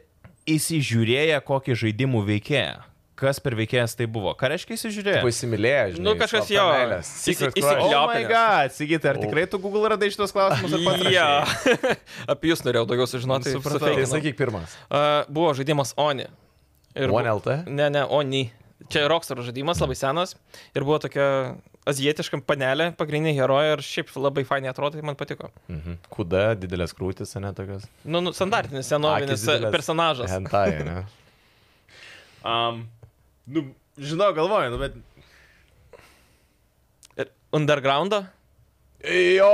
įsižiūrėję kokį žaidimų veikėją? Kas per veikėjas tai buvo? Ką reiškia įsižiūrėję? Įsimylėjęs, žinai. Nu, kažkas slapta jo. meilė. Secret Įsi- crush. įsi- O, my Liopinės. god, Sigita, ar tikrai tu Google radai šitos klausimus? ar pats Jo. rašei? Apie jūs norėjau daugiau sužinoti. Supratau. Tai sufeikinau. sakyk pirmas. A, Buvo žaidimas Oni. bu- One LT? Ne, ne, Oni. Čia Rockstar žaidimas, labai senas. Ir buvo tokia azijietiška panelė, pagrindinė herojė ir šiaip labai fainai atrodo, tai man patiko. Mhm. Kuda, didelės krūtis, ne tokios. Nu, nu standartinis Akys senovinis e, didelės. personažas. Hentai, ne? Um, nu, žinau, galvoju, nu, bet... Ir Undergroundą? Jo,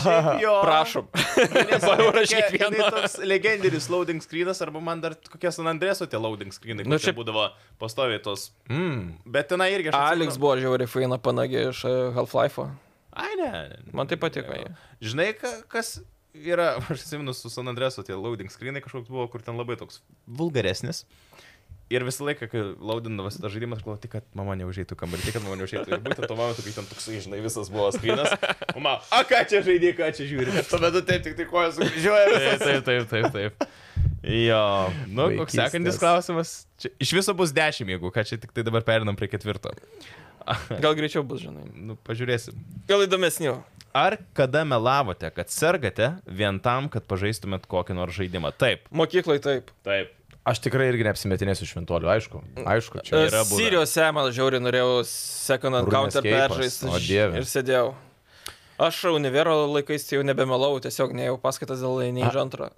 Prašom. Po eurą už kiekvieną. Toks legendinis loading screenas, arba man dar kokie San Andreso tie loading screenai, Nu, kur čia šiaip- būdavo pastoviai tos. Mm. Bet tenai irgi aš. Alex atsimenu- buvo žiauriai faina panagė iš e, Half-Life'o. Ai, ne. ne. Man tai patiko. jie. Žinai, ka- kas yra, aš atsimenu su San Andresu, tie loading screenai kažkoks buvo, kur ten labai toks vulgaresnis. Ir visą laiką, kai laudindavas tą žaidimą, aš galvojau, tik kad mama neužėjtų kambarį, tik kad mama neužėjtų. Ir būtent tuo momentu, kai ten toks, žinai, visas buvo screenas. Mama, a ką čia žaidė, ką čia žiūri. Tuomet taip, tik tai kojas sugrįžiuoja. Taip, taip, taip, taip. Jo, nu, koks Vaikystės. sekantis klausimas. Čia, iš viso bus dešimt, jeigu ką čia tik tai dabar perinam prie ketvirto. Gal greičiau bus, žinai. Nu, pažiūrėsim. Gal įdomesnių. Ar kada melavote, kad sergate vien tam, kad pažaistumėt kokį nors žaidimą? Taip. Mokykloje taip. Taip. Aš tikrai irgi neapsimetinėsiu šventuoliu, aišku. Aišku, čia. yra buvę. Sirijose man E, žiauriai norėjau Second Encounter Runescape'as, peržaisti. o dieve. Ir sėdėjau. Aš univero laikais tai jau nebemelau, tiesiog nejau paskaitas dėl nei iš antrą.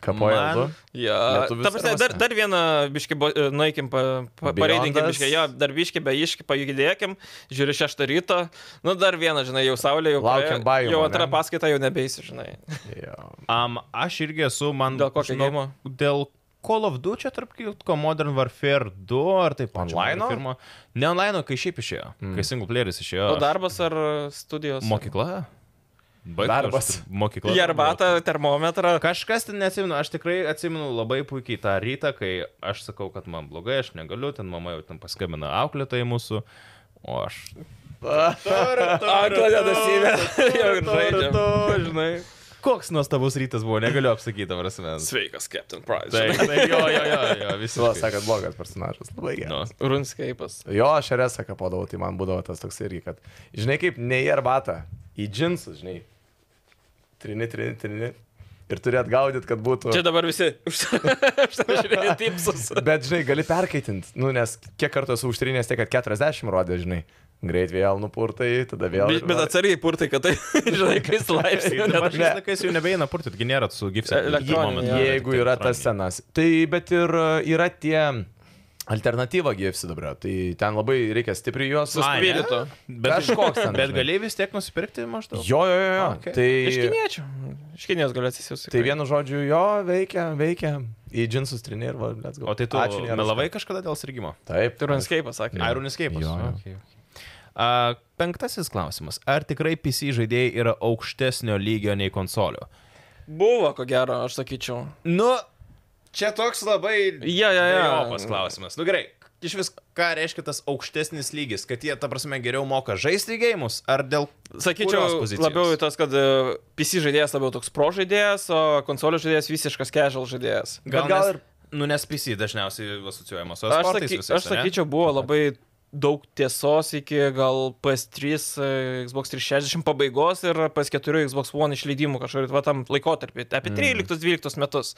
Kapoja Man- du. Ja. Lietuvius Ta prasme, ar dar, vasarą? dar vieną biškį, bo- e, nueikim, pa, pa, Beyondas. pareidinkim biškį, jo, dar biškį, be iški, pajudėkim, žiūri šeštą ryto, nu dar vieną, žinai, jau saulė, jau Laukiam praėjo, baiumo, Jau ne? antrą paskaitą jau nebeisi, žinai. Jo. Um, aš irgi esu, man. Dėl kokio žinau, geimo? Dėl Call of Duty čia tarp kitko Modern Warfare 2 ar taip pat. Online'o? Ne online, kai šiaip išėjo. Mm. Kai single playeris išėjo. O darbas ar studijos? Aš- Mokykla? Baigtų Darbas. aš- Mokykla. Jarbatą, termometrą. Kažkas ten neatsimenu, aš tikrai atsimenu labai puikiai tą rytą, kai aš sakau, kad man blogai, aš negaliu, ten mama jau ten paskambina auklėtojai mūsų, o aš Klaipėdos įvė. Jau ir žaidžiam. Žinai. Koks nuostabus rytas buvo, negaliu apsakyti, prasme. Tai Sveikas, Captain Price. Taip, Taip. taip, jo, jo, jo, jo, visi. Silo, sakot, blogas personažas. Labai geras. Nu. Runscape'as. Jo, aš eresą kapodavau, tai man būdavo tas toks irgi, kad, žinai, kaip ne į arbatą, į džinsus, žinai. Trini, trini, trini. Ir turi atgaudyti, kad būtų. Čia dabar visi. Žiūrėjau, tipsus. Bet, žinai, gali perkaitinti, nu, nes kiek kartų esu užtrinęs tiek, kad 40 rodė, žinai. Greit vėl nupurtai, tada vėl. Bet, bet atsargiai purtai, kad tai, žinai, kris laipsnių. Tai Dabar nedažnai. šiais laikais jau nebeina purtit, taigi nėra su gipsė. Elektroninė, jo. Jeigu yra tas senas. Tai bet ir e, yra tie alternatyva gyvsi dabar. Tai ten labai reikia stipriai juos. Ai, spiritu. Bet, Kažkoks ten, Bet žinai. gali Ah, vis tiek nusipirkti maždaug. Jo, jo, jo. jo. Okay. Iš Tai, kiniečių. Iš kinijos galiu atsisiųsti. tai vienu žodžiu, jo, veikia, veikia. Į džinsus trinį ir va, let's go. O tai tu Ačiū, nėra melavai kažkada dėl sirgymo. Taip, Tai Runscape'as sakė. Iron Escape. Jo, jo. Penktasis klausimas. Ar tikrai PC žaidėjai yra aukštesnio lygio nei konsolių? Buvo, ko gero, aš sakyčiau. Nu, čia toks labai... Jo, jo, jo. Jopas klausimas. Nu gerai, iš vis ką reiškia tas aukštesnis lygis, kad jie, ta prasme, geriau moka žaisti gėjimus, ar dėl... kurios Sakyčiau, pozicijos? labiau į tas, kad e, PC žaidėjas labiau toks pro žaidėjas, o konsolio žaidėjas visiškas casual žaidėjas. Gal, Bet gal gal ir... Nu, nes PC dažniausiai asocijuojamas su Aš, esportais saky, visais, aš ane? sakyčiau, buvo labai daug tiesos iki gal PS3, e, Xbox 360 pabaigos ir PS4, Xbox One išleidimų kažkur va tam laikotarpį, apie Mm. 13-12 metus.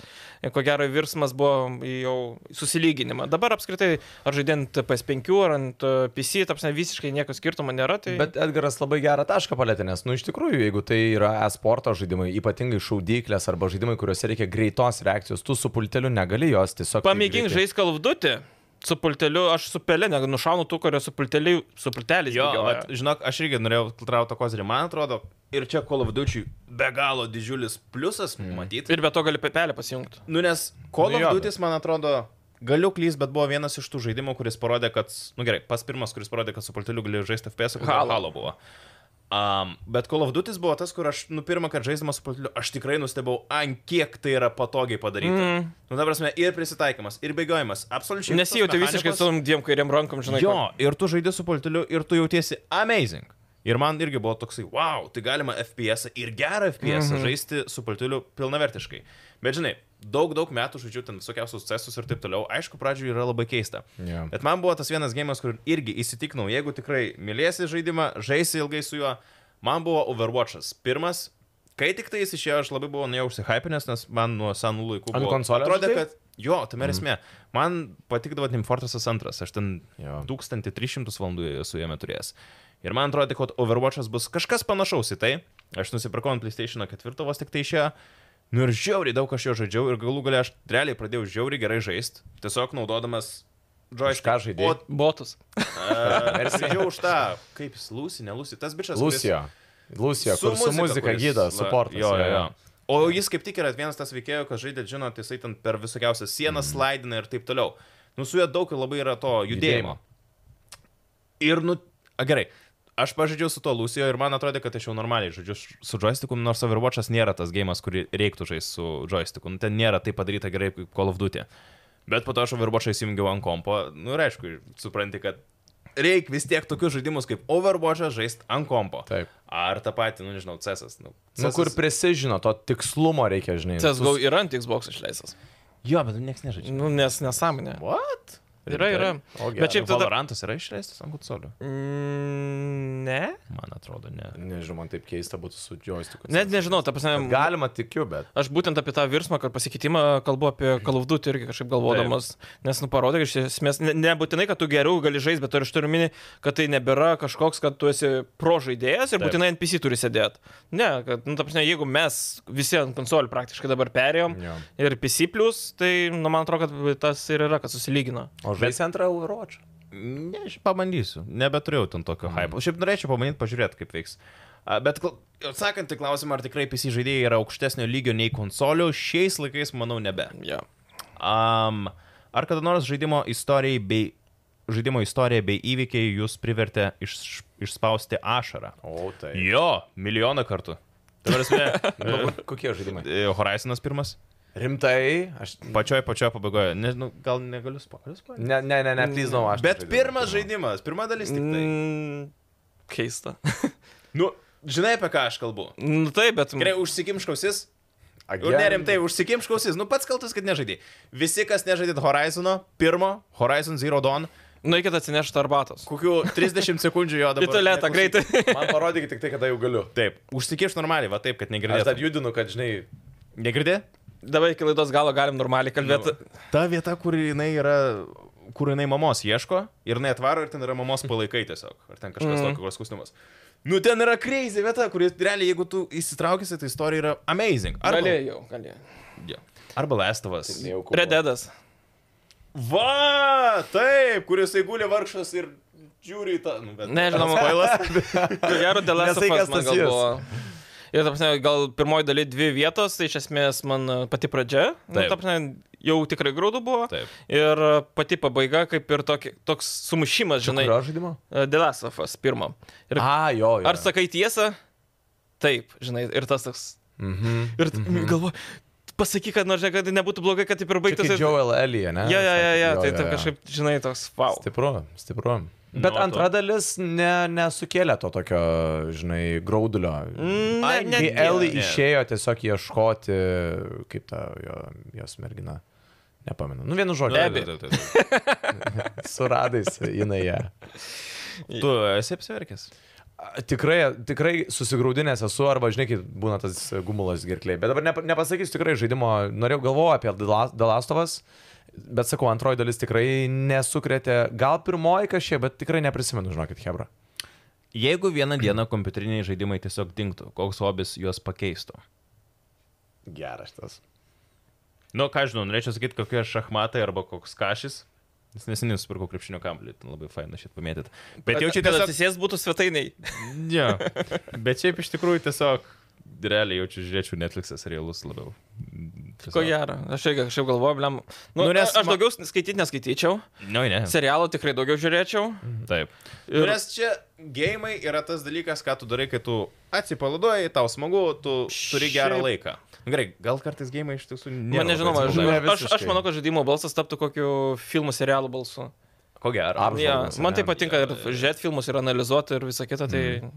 E, Ko gero virsmas buvo į jau susilyginimą. Dabar apskritai, ar žaidint PS5, ar ant e, PC, tapsne visiškai nieko skirtumo nėra. Tai... Bet Edgaras labai gerą tašką palėtė, nes, nu, iš tikrųjų, jeigu tai yra e-sporto žaidimai, ypatingai šaudyklės arba žaidimai, kuriuose reikia greitos reakcijos, tu su pulteliu negali jos tiesiog... taip Pamėgink greitai- žaisti kalvdutį. Su pulteliu, aš su pelė, negu nušaunu tų, kurie su pulteliu, su pultelis. Jo, bėgioja. bet, žinok, aš irgi norėjau trauto kozirį, man atrodo, ir čia Call of Duty be galo didžiulis pliusas, Mhm. matyti. Ir be to gali pelę pasijungti. Nu, nes Call Nu of jo, Duty, man atrodo, galiu klys, bet buvo vienas iš tų žaidimų, kuris parodė, kad, nu gerai, pas pirmas, kuris parodė, kad su porteliu gali žaisti FPS, o Halo. Halo. Halo buvo. Um, bet Call of Duty buvo tas, kur aš, nu, pirmą kartą žaisdamas su porteliu, aš tikrai nustebau, ant kiek tai yra patogiai padaryta. Mm. Nu, ta prasme, ir prisitaikymas, ir bėgiojimas, absoliučiai. visos Nesijauti tai visiškai mechanikos- su tom dviem kairiam rankom, žinai. Jo, kur- ir tu žaidži su porteliu, ir tu jautiesi amazing. Ir man irgi buvo toksai, wow, tai galima FPS ir gerą FPS Mhm. mm -hmm. žaisti su porteliu pilnavertiškai. Bet žinai, daug, daug metų žaidžiu ten visokiausius cestus ir taip toliau. Aišku, pradžioje yra labai keista. Jo. Bet man buvo tas vienas gėjimas, kur irgi įsitikinau, jeigu tikrai mylėsi žaidimą, žaisi ilgai su juo, man buvo Overwatch'as. Pirmas, kai tik tai jis išėjo, aš labai buvau nuėjau užsihypinęs, nes man nuo senų laikų Ant buvo- konsolės atrodė, žaidei? kad Jo, tame ir Mhm. esmė. Man patikdavo Team Fortressas 2, aš ten Jo. 1300 valandų esu jame turėjęs. Ir man atrodė, kad Overwatch'as bus kažkas panašaus į tai. Aš nusipirkau ant PlayStation 4 vos tik tai išėjo. Nu ir žiauriai daug aš jo žaidžiau ir galų gale aš realiai pradėjau žiauriai gerai žaisti. Tiesiog naudodamas Už ką žaidei? O, Botus. ir sėdžiau e, už tą, kaip jis lūsi, nelūsi. Tas bičias. kuris- Lusijo. Lusijo, kur su muzika kuris- gyda, va, suportas. Jo, jo, jo. O jis kaip tik yra vienas tas veikėjo, kas žaidė, žinot, jisai ten per visokiausias sienas mm. slaidina ir taip toliau. Nu, su juo daug ir labai yra to judėjimo. Mhm. Judėjimo. Ir, nu, a, gerai. Aš pažaidžiau su to Lusijo ir man atrodė, kad aš jau normaliai žaidžiu š- su joysticku, nors Overwatch'as nėra tas gėjimas, kurį reiktų žaisti su joysticku. Nu, ten nėra tai padaryta gerai kaip Call of Duty. Bet po to aš Overwatch'ą įsijungiau ant kompo. Nu ir aišku, supranti, kad reikia vis tiek tokius žaidimus kaip Overwatch'ą žaisti ant kompo. Taip. Ar tą patį, nu nežinau, CSS. Nu, Nu, kur prisižino, to tikslumo reikia, žinai. CSGO yra ant Xbox išleistas. Jo, bet niekas nežaidžia. Nu, nes nesąmonė. What? Yra, yra. O, Bet Šiaip tada... šiaip tada... Valorantas yra išleistas ant konsolių. Mm, Ne? Man atrodo, ne. Nežinau, man taip keista būtų su joystiku. Net nežinau, ta prasme. Bet Galima tikiu, bet. Aš būtent apie tą virsmą, kad pasikeitimą kalbu apie kalvdutį irgi kažkaip galvodamas, nes nu parodė, kad iš esmės ne- nebūtinai, kad tu geriau gali žaisti, bet ir aš turiu minį, kad tai nebėra kažkoks, kad tu esi pro žaidėjas ir Taip. būtinai NPC turi sėdėti. Ne, kad, nu, ta prasme, jeigu mes visi ant konsolių praktiškai dabar perėjom Jo. ir PC, plus, tai, nu, man atrodo, kad tas ir yra, kad susilygina. O žaisti antrą Overwatch. Ne, aš pabandysiu. Nebeturėjau ten tokio mm. hype. Šiaip norėčiau pabandyti, pažiūrėti, kaip veiks. A, Bet kl- atsakant į klausimą, ar tikrai PC žaidėjai yra aukštesnio lygio nei konsolių, šiais laikais manau nebe. Ja. Um, ar kada nors žaidimo istorijai bei žaidimo istorija bei įvykiai jūs privertė iš, išspausti ašarą? O, tai. Jo, milijoną kartų. Tai prasme, Nu, kokie žaidimai? e, Horizonas pirmas. Rimtai, aš. Pačioj pačioj pabaigoje. Nežinau, gal negaliu spausti. Ne, ne, ne, ne, please, no, aš. Bet nežaidžiu. pirmas žaidimas, pirma dalis tik tai. Mm, keista. Nu, žinai apie ką aš kalbu. nu taip, bet... Gerai, užsikimškausis. Ir nu, nerimtai, užsikimškausis. Nu, pats kaltas, kad nežaidai. Visi, kas nežaidėt Horizono, pirmo, Horizon Zero Dawn, Nu, eikit atsinešti arbatos. kokių 30 sekundžių jo Į dabar. tualetą neklausykit. greitai. Man parodykit tik tai, kada jau galiu. Taip, užsikiš normaliai, va taip, kad Aš dar negirdėtum. judinu, kad, žinai, Negirdė? Dabar iki laidos galo galim normaliai kalbėti. Ta vieta, kur jinai yra, kur jinai mamos ieško ir jinai atvaro ir ten yra mamos palaikai tiesiog. Ar ten kažkas Mhm. mm. tokio skustumas. Nu, ten yra kreizė vieta, kur realiai, jeigu tu įsitraukėsi, tai istorija yra amazing. Arba, Galėjau, galėjau. Jo. Arba Lestovas. Tai nejauku. Rededas. Va, taip, kuris įgulė vargšas ir žiūri į tą. Nu, bet... Nežinau, Spoilas. Ko gero, dėl Nes tai, esafas kas man tas gal jis. buvo. Ir, ta prasme, gal pirmoji daly dvi vietos, tai iš esmės man e, pati pradžia, nu, Taip. ta prasme, jau tikrai grūdų buvo. Taip. Ir e, pati pabaiga, kaip ir toki, toks sumušimas, žinai, e, Kurio žaidimo? dėl esafas pirmo. Ir A, jo, jo. ar sakai tiesą? Taip, žinai, ir tas toks. Mhm. Ir t- galvoju, pasakyk, kad nors, žinai, kad nebūtų blogai, kad taip ir Čia baigtųsi. kaip Joel Elija, ne? Ja, ja, ja, ja, Jo, tai jo, taip jo. kažkaip, žinai, toks wow. Stipru, stipru. Bet Nu, antra to- dalis ne, nesukėlė to tokio, žinai, graudulio. Mm, Ne, Ai, ne, Kai Eli Mm, ne. išėjo tiesiog ieškoti, kaip ta jo, jos mergina, nepamenu. Nu, vienu žodžiu, Abby. Tu suradais jinai ją. esi apsiverkęs. A, Tikrai, tikrai susigraudinęs esu, arba žinai, kaip būna tas gumulas gerkliai. Bet dabar nepa- nepasakysiu tikrai žaidimo, norėjau galvoju apie Dalastovas, bet sakau, antroji dalis tikrai nesukrėtė. Gal pirmoji kažkiek, bet tikrai neprisimenu, žinokit, Hebra. Jeigu vieną dieną kompiuteriniai žaidimai tiesiog dinktų, koks hobis juos pakeistų? Geras tas. Nu, ką aš žinau, norėčiau sakyti, kokie šachmatai arba koks kažis. Nes neseniai nusipirkau krepšinio kamuolį, ten labai faina šit pamėtyti. Bet jau čia Kad tiesiog... atsisės būtų svetainiai. Ja. Bet šiaip iš tikrųjų tiesiog... Realiai jaučiu, žiūrėčiau Netflix'as realus labiau. Tiesiog. Ko gero, aš irgi kažkaip galvoju, blem. Nu, Nu, nu, nes nes aš ma- daugiau skaityti neskaityčiau, Nu, ne. serialo tikrai daugiau žiūrėčiau. Taip. Ir... Ir- Nes čia gėjimai yra tas dalykas, ką tu darai, kai tu atsipalaiduoji, tau smagu, tu turi gerą Šiaip- laiką. Nu, Gerai, gal kartais gėjimai iš tiesų Man nežinau, labai aš, atsipalaidavę. Ne, aš, aš visiškai. manau, kad žaidimo balsas taptų kokiu filmų serialų balsu. Ko gero. Apžvalgos, Ja, ar man ne? tai patinka ir žiūrėti filmus, ir analizuoti, ir visą kitą, tai... Mm.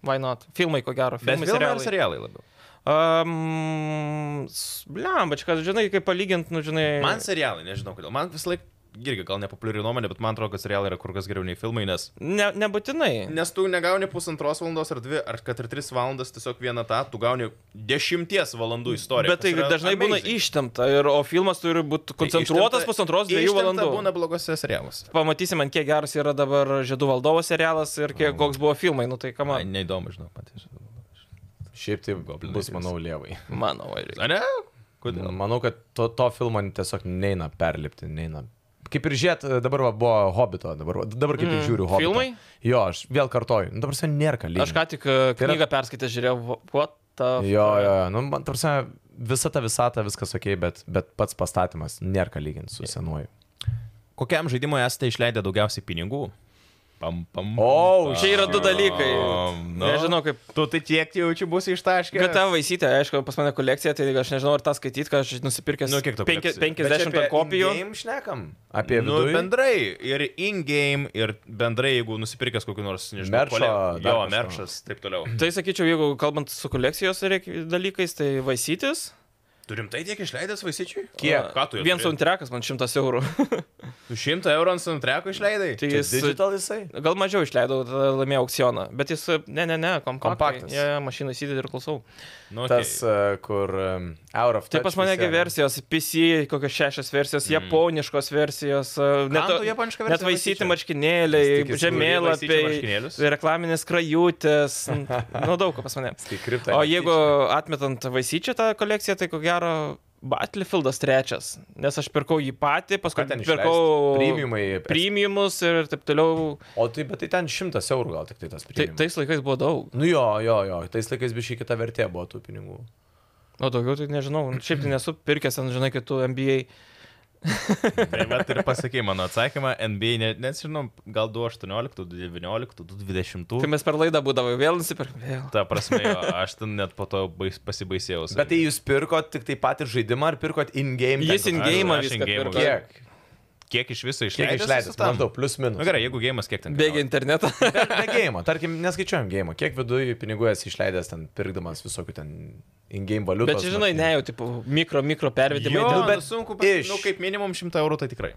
Why not? Filmai, ko gero. Bet Filmai, filmai ar serialai. serialai labiau. Um, Blembačkas, žinai, kaip palyginti, nu, žinai. Man serialai, nežinau kodėl. Man visą laiką, irgi gal nepopuliari nuomonė, bet man atrodo, kad serialai yra kur kas geriau nei filmai, nes... Ne, nebūtinai. Nes tu negauni pusantros valandos ar dvi, ar kad ir tris valandas tiesiog vieną tą, tu gauni dešimties valandų istoriją. Bet tai dažnai būna ištempta, ir, o filmas turi būti koncentruotas pusantros dviejų valandų. Tai būna blogose serialuose. Pamatysim, ant kiek geras yra dabar Žiedų valdovo serialas ir kiek, koks buvo filmai. Nu tai ką Man man. neįdomu, žinau, patys. Šiaip tai Goblinai bus, trys. manau, lievai. Mano važiuoju. A ne? Kodėl? Manau, kad to, to filmo tiesiog neina perlipti, neina. Kaip ir žiūrėt, dabar va, buvo Hobito, dabar, va- dabar kaip ir Mm, žiūriu Hobito. filmai? Jo, aš vėl kartoju. Nu, dabar sen nėra ką lyginti. Aš ką tik e, knygą perskaitę žiūrėjau, what the. Jo, jo, jo. nu, man tarsi visa ta visata, viskas ok, bet, bet pats pastatymas nėra ką lyginti su senuoju. Kokiam žaidimui esate išleidę daugiausiai pinigų? Pam, pam. O, Čia yra du dalykai. nu. Nežinau, kaip. Tu tai tiek jaučiu būsi ištaškęs. GTA vaisytė, aišku, pas mane kolekcija, tai aš nežinau, ar tą skaityti, kad aš nusipirkęs Nu, kiek tau penki- kolekcija? 50 ant kopijų. Game šnekam. Apie Nu, vidų. bendrai, ir in-game, ir bendrai, jeigu nusipirkęs kokį nors, nežinau, Merčo, kole- dar jo, kažko. meršas, taip toliau. Tai sakyčiau, jeigu kalbant su kolekcijos reik- dalykais, tai vaisytis. Turim tai tiek išleidęs vaisyčiui? Kiek? Ką tu jau? Vien soundtrackas man 100 eurų. Tu šimtą eurų ant soundtrackų išleidai? Tai Jis... jis Digital jisai? Gal mažiau išleidau, tada laimėjau aukcioną. Bet jis, e, ne, ne, ne, kompaktai. Kompaktas. Jie mašiną įsidedi ir klausau. Nu, Okay. Tas, e, kur... em, Out of. Taip touch pas mane visi, gi ar ne? versijos, PC, kokios šešios versijos, mm. japoniškos versijos, e, net, tu japonišką net versiją vaisyti vaisyčia? marškinėliai, Jis turi tikisi, vaisyčio žemėlapiai, marškinėlius? reklaminės krajutės, n- nu daug ko pas mane. Tai kripta. O jeigu atmetant vaisyčią tą kolekciją, tai ko gero Battlefieldas trečias, nes aš pirkau jį patį, paskui Ką ten pirkau išleist? Premiumai, premiumus ir taip toliau. O tai, bet tai ten šimtas eurų gal tik tai tas Tai, pinigas. tais laikais buvo daug. Nu jo, jo, jo, tais laikais biškai kita vertė buvo tų pinigų. O daugiau tai nežinau. Šiaip tai nesu pirkęs ant, žinai, kitų NBA. Tai vat ir pasakai mano atsakymą, NBA, ne, nežinau, gal 2.18, 2.19, 2.20. Kai mes per laidą būdavo vėl nusipirkti. Vėl. Ta prasme, jo, aš ten net po to bais, pasibaisėjau. savim. Bet tai jūs pirkot tik tai patį žaidimą ar pirkot in-game? Jis ten in-game Aš- aš viską in-game pirko. viską. Kiek? kiek iš viso tai- Kiek išleidai? išleidęs? Maždaug, plius minus. Na Nu gerai, jeigu gėjimas kiek ten. Bėgi internetą. Be gėjimo, tarkim, neskaičiuojam gėjimo, kiek viduje pinigų esi išleidęs ten, pirkdamas visokių ten in-game valiutų. Bet čia, žinai, ne jau, tipo, mikro, mikro pervedimai. Jo, ten- nu, bet bet sunku, bet, iš- Mm. nu, kaip minimum 100 eurų tai tikrai.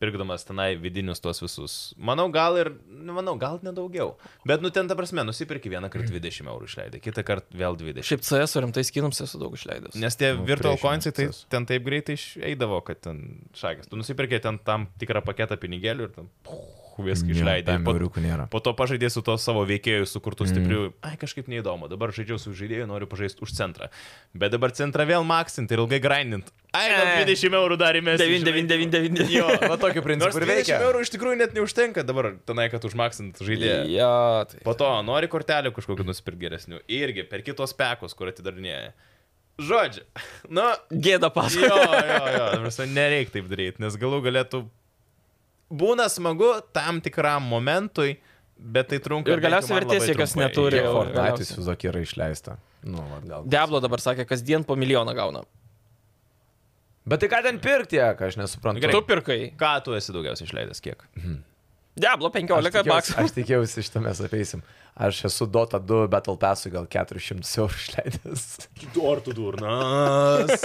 Pirkdamas tenai vidinius tuos visus. Manau, gal ir, nu, manau, gal nedaugiau. Bet, nu, ten, ta prasme, nusipirki vieną Mm. kartą 20 eurų išleidai, kitą kartą vėl 20. Šiaip CS su rimtais kinams esu daug išleidęs. Nes tie Nu, virtual priešingai coinsai tai, procesu. ten taip greitai išeidavo, kad ten šakės. Tu nusipirki ten tam tikrą paketą pinigėlių ir tam puch, viską išleidai. Ten Mhm. Po, euriukų nėra. po to pažaidėjai su to savo veikėjų sukurtų stiprių. Ai, kažkaip neįdomu, dabar žaidžiau su žaidėju, noriu pažaisti už centrą. Bet dabar centrą vėl maksint ir ilgai grindint. Ai, gal Eh. E. 20 eurų darėme. 9999. Jo, Va tokiu nors principu 20 ir veikia. eurų iš tikrųjų net neužtenka dabar tenai, kad užmaksint žaidėją. Ja, tai. Po to nori kortelių kažkokiu nusipirkti geresnių. Irgi per kitos pekus, kur atidarinėja. Žodžiu, nu, Gėda jo, pasako. jo, jo, prasme, nereik taip daryti, nes galų galėtų. Būna smagu tam tikram momentui, bet tai trunka. Ir bent galiausiai jau man vertės labai jokios trumpai. neturi. Jo, Kiek jau Fortnite'ui galiausiai. Suzuki yra išleista? Nu, va, gal. Diablo dabar sakė, kasdien po milijoną gauna. Bet tai ką ten pirkti, tiek, aš nesuprantu. Nu Gerai. Tu pirkai. Ką tu esi daugiausiai išleidęs, kiek? Diablo Aš 15 tikėjausi- baksų. Aš tikėjausi iš tame apeisim. Aš esu Dota 2 Battle Passui gal 400 eurų išleidęs. Ar tu durnas?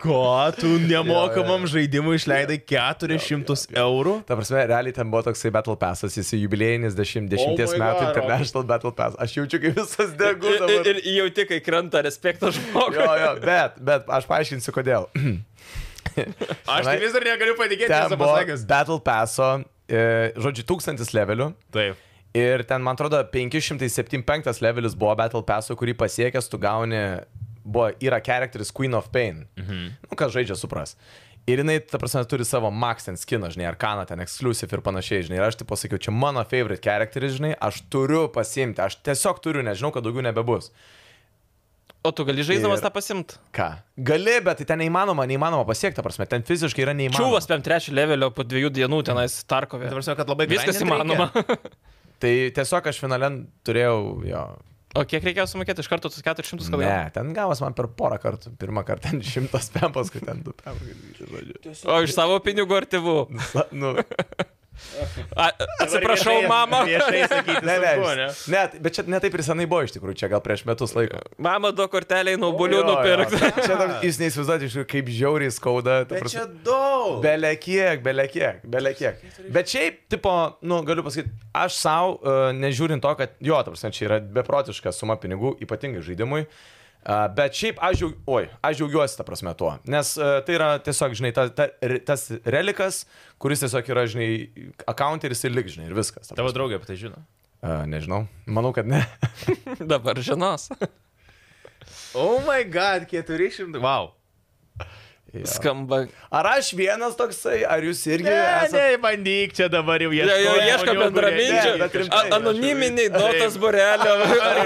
Ko tu nemokamam žaidimui išleidai 400 eurų? Ta prasme, realiai ten buvo toksai Battle Passas, jis jubiliejinis Oh 10 my metų God, International Battle Pass. Aš jaučiu, kaip visas degu Ir, dabar. ir, ir jau tik, kai krenta respektas Jo, žmogui. jo, bet, bet aš paaiškinsiu, kodėl. Aš tai Tenai- vis dar negaliu patikėti, Ten tiesą buvo pasakius. Battle Passo, e, žodžiu, tūkstantis levelių. Taip. Ir ten, man atrodo, 575 levelis buvo Battle Passo, kurį pasiekęs tu gauni, buvo, yra charakteris Queen of Pain. Mhm. Nu, kas žaidžia, supras. Ir jinai, ta prasme, turi savo Max ten skiną, žinai, Arkana ten exclusive ir panašiai, žinai. Ir aš tai pasakiau, čia mano favorite charakteris, žinai, aš turiu pasimti, aš tiesiog turiu, nežinau, kad daugiau nebebus. O tu gali žaisdamas Ir- tą pasimt. Ką? Gali, bet tai ten neįmanoma, neįmanoma pasiekti, ta prasme, ten fiziškai yra neįmanoma. Čiūvas pėm trečio levelio po dviejų dienų tenais Tarkovė. Tai prasme, kad labai Viskas grindint reikia. įmanoma. Tai tiesiog aš finale turėjau jo. O kiek reikėjo sumokėti iš karto tuos 400 kalbų? Ne, ten gavas man per porą kartų. Pirmą kartą ten šimtas pempas, kad ten du pempas. O iš savo pinigų ar tėvų? Nu, A, atsiprašau, Viešai- mama. Viešai sakyti, ne, sunku, ne. ne, ne, bet čia ne taip ir senai buvo iš tikrųjų, čia gal prieš metus laiko. Mama, du korteliai nuo bulių Jo, jo. nupirkti. Čia tam, jūs neįsivaizduojate, iš tikrųjų, kaip žiauriai skauda. ta Bet prasme. čia daug. Belė kiek, belė kiek, belė kiek. Bet šiaip, tipo, nu, galiu pasakyti, aš savo, uh, nežiūrint to, kad jo, tarsi, čia yra beprotiška suma pinigų, ypatingai žaidimui. Uh, bet šiaip aš, džiaug, oi, aš džiaugiuosi tą prasme tuo, nes uh, tai yra tiesiog, žinai, ta, ta, re- tas relikas, kuris tiesiog yra, žinai, accounteris ir lik, žinai, ir viskas. ta Tavo prasme. draugė apie tai žino. Uh, nežinau, manau, kad ne. Dabar žinos. Oh my god, 400. Wow. Jo. Skamba. ar aš vienas toksai, ar jūs irgi Ne, esate? ne, bandyk čia dabar jau Jau, ieškoti. jau ieško ne, bet bendraminčių. rimtai, A- Anoniminiai dotas Ar burelio.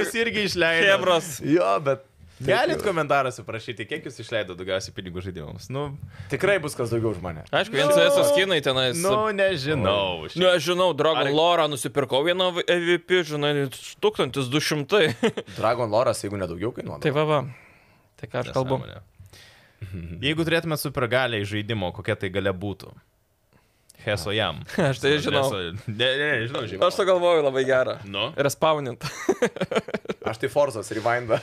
jūs irgi išleidote? Hebros. Jo, bet Galit komentaruose parašyti, kiek jūs išleidote daugiausiai pinigų žaidimams. Nu, tikrai bus kas daugiau už mane. Aišku, Nu, vien CS skinai tenais. nu nežinau. Nu, aš žinau, Dragon Ar- Ar... Lore nusipirkau vieną EVP, žinai, 1200. Dragon Loras, jeigu nedaugiau kainuoja. tai va, va. Tai ką aš kalbu. Nesąmonė. Jeigu turėtume supergalę iš žaidimo, kokia tai galia būtų? Heso jam. Aš tai žinau. Heso- Ne, ne, žinau, žinau. Aš to galvoju labai gerą. Nu, Respaunint. Aš tai Forzos rewindą.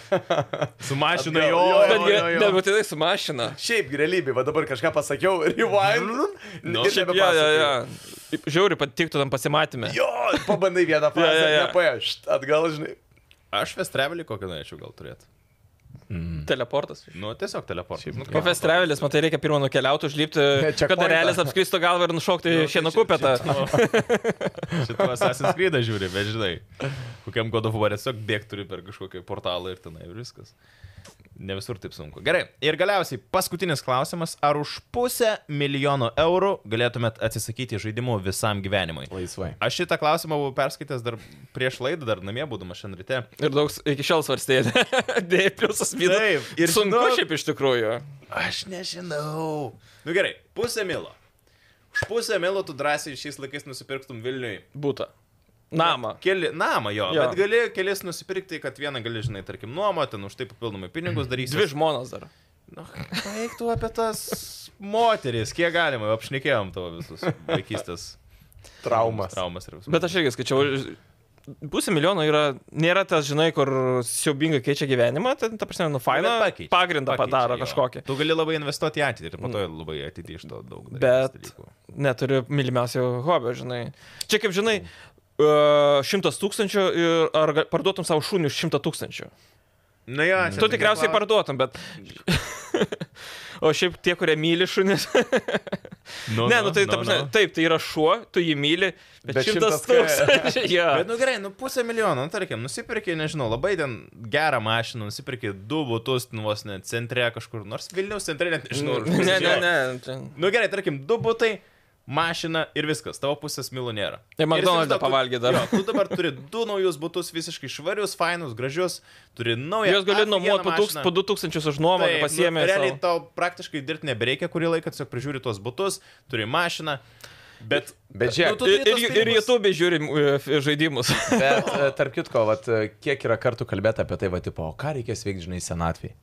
sumažino Atgal, jo. jo, jo, Bet jo, jie jo. nebūtinai sumažina. Šiaip realybė, va dabar kažką pasakiau, rewind. Nu, ir šiaip Ja, ja, nebepasakoju. ja. Žiauri patiktų tam pasimatymę. Jo, pabandai vieną frazę, Jo, ja, jo, ja, jo. ja. nepaėšt, atgal, žinai. Aš festrevelį kokią norėčiau gal turėti. Teleportas. Nu, tiesiog teleportas. Nu, O festrevelis, matai, reikia pirmą nukeliauti, užlipti, Checkpointą. kad realis apskristų galvą ir nušokti nu, šieno kupetą. Šitą Assassin's Creed žiūri, bet žinai, kokiam God of War tiesiog bėgti turi per kažkokį portalą ir tenai ir viskas. Ne visur taip sunku. Gerai. Ir galiausiai paskutinis klausimas. Ar už pusę milijono eurų galėtumėt atsisakyti žaidimų visam gyvenimui? Laisvai. Aš šitą klausimą buvau perskaitęs dar prieš laidą, dar namie būdamas šiandien ryte. Ir daug s- iki šiol svarstėjai. Dėjai pliusas Taip, minusas. ir Ir sunku žinok- šiaip iš tikrųjų. Aš nežinau. Nu gerai, pusę milo. Už pusę milo tu drąsiai šiais laikais nusipirktum Vilniui Būta. Namą. Keli, namą jo, jo, Jo. bet gali kelis nusipirkti, kad vieną gali, žinai, tarkim, nuomoti, už tai papildomai pinigus darysi. Mhm. Dvi žmonas dar. Nu, Paeiktų apie tas moteris, kiek galima, apšnekėjom tavo visus vaikystės Traumas. traumas ir visus. Bet aš irgi skaičiau, pusė milijono yra, nėra tas, žinai, kur siaubingai keičia gyvenimą, tai, ta prasme, nu, faina, pagrindą padaro kažkokį. Mhm. Tu gali labai investuoti į ateitį ir po to labai ateitį iš to daug. darys Bet dalykų. neturiu mylimiausio hobio, žinai. Čia kaip žinai, Mm. e, šimtas tūkstančių ir ar ga- parduotum savo šunį už šimtą tūkstančių. Na Nu jo, čia Tu tokia tikriausiai klaus- parduotum, bet... O šiaip tie, kurie myli šunis. Nu, Ne, nu tai, ta prasme, taip, tai yra šuo, tu jį myli, bet Bet šimtas šimtas ką- tūkstančių. jo. Bet nu gerai, nu pusę milijono, nu, tarkim, nusipirki, nežinau, labai ten gerą mašiną, nusipirki du butus, nu vos net centre kažkur, nors Vilniaus centre net nežinau. už Ne, ne, milijoną. ne. ten- Nu gerai, tarkim, du butai, mašina ir viskas, tavo pusės milų nėra. Ir McDonald'ą įsivaizduok, tu- pavalgė dar. Jo, tu dabar turi du naujus butus, visiškai švarius, fainus, gražius, turi naują. Jos gali nuomoti po, tūks, afigeną po mašiną. 2000 už nuomą, Taip, nu, pasiemė. Realiai savo. tau praktiškai dirbti nebereikia kurį laiką, tiesiog prižiūri tuos butus, turi mašiną, bet... nu, Bet žiūrėk, tu turi Ir, ir, tuos ir pinigus. YouTube žiūrim e, f- žaidimus. Bet e, tarp kitko, vat, e, kiek yra kartų kalbėta apie tai, va, tipo, o ką reikės veikti, žinai, senatviai.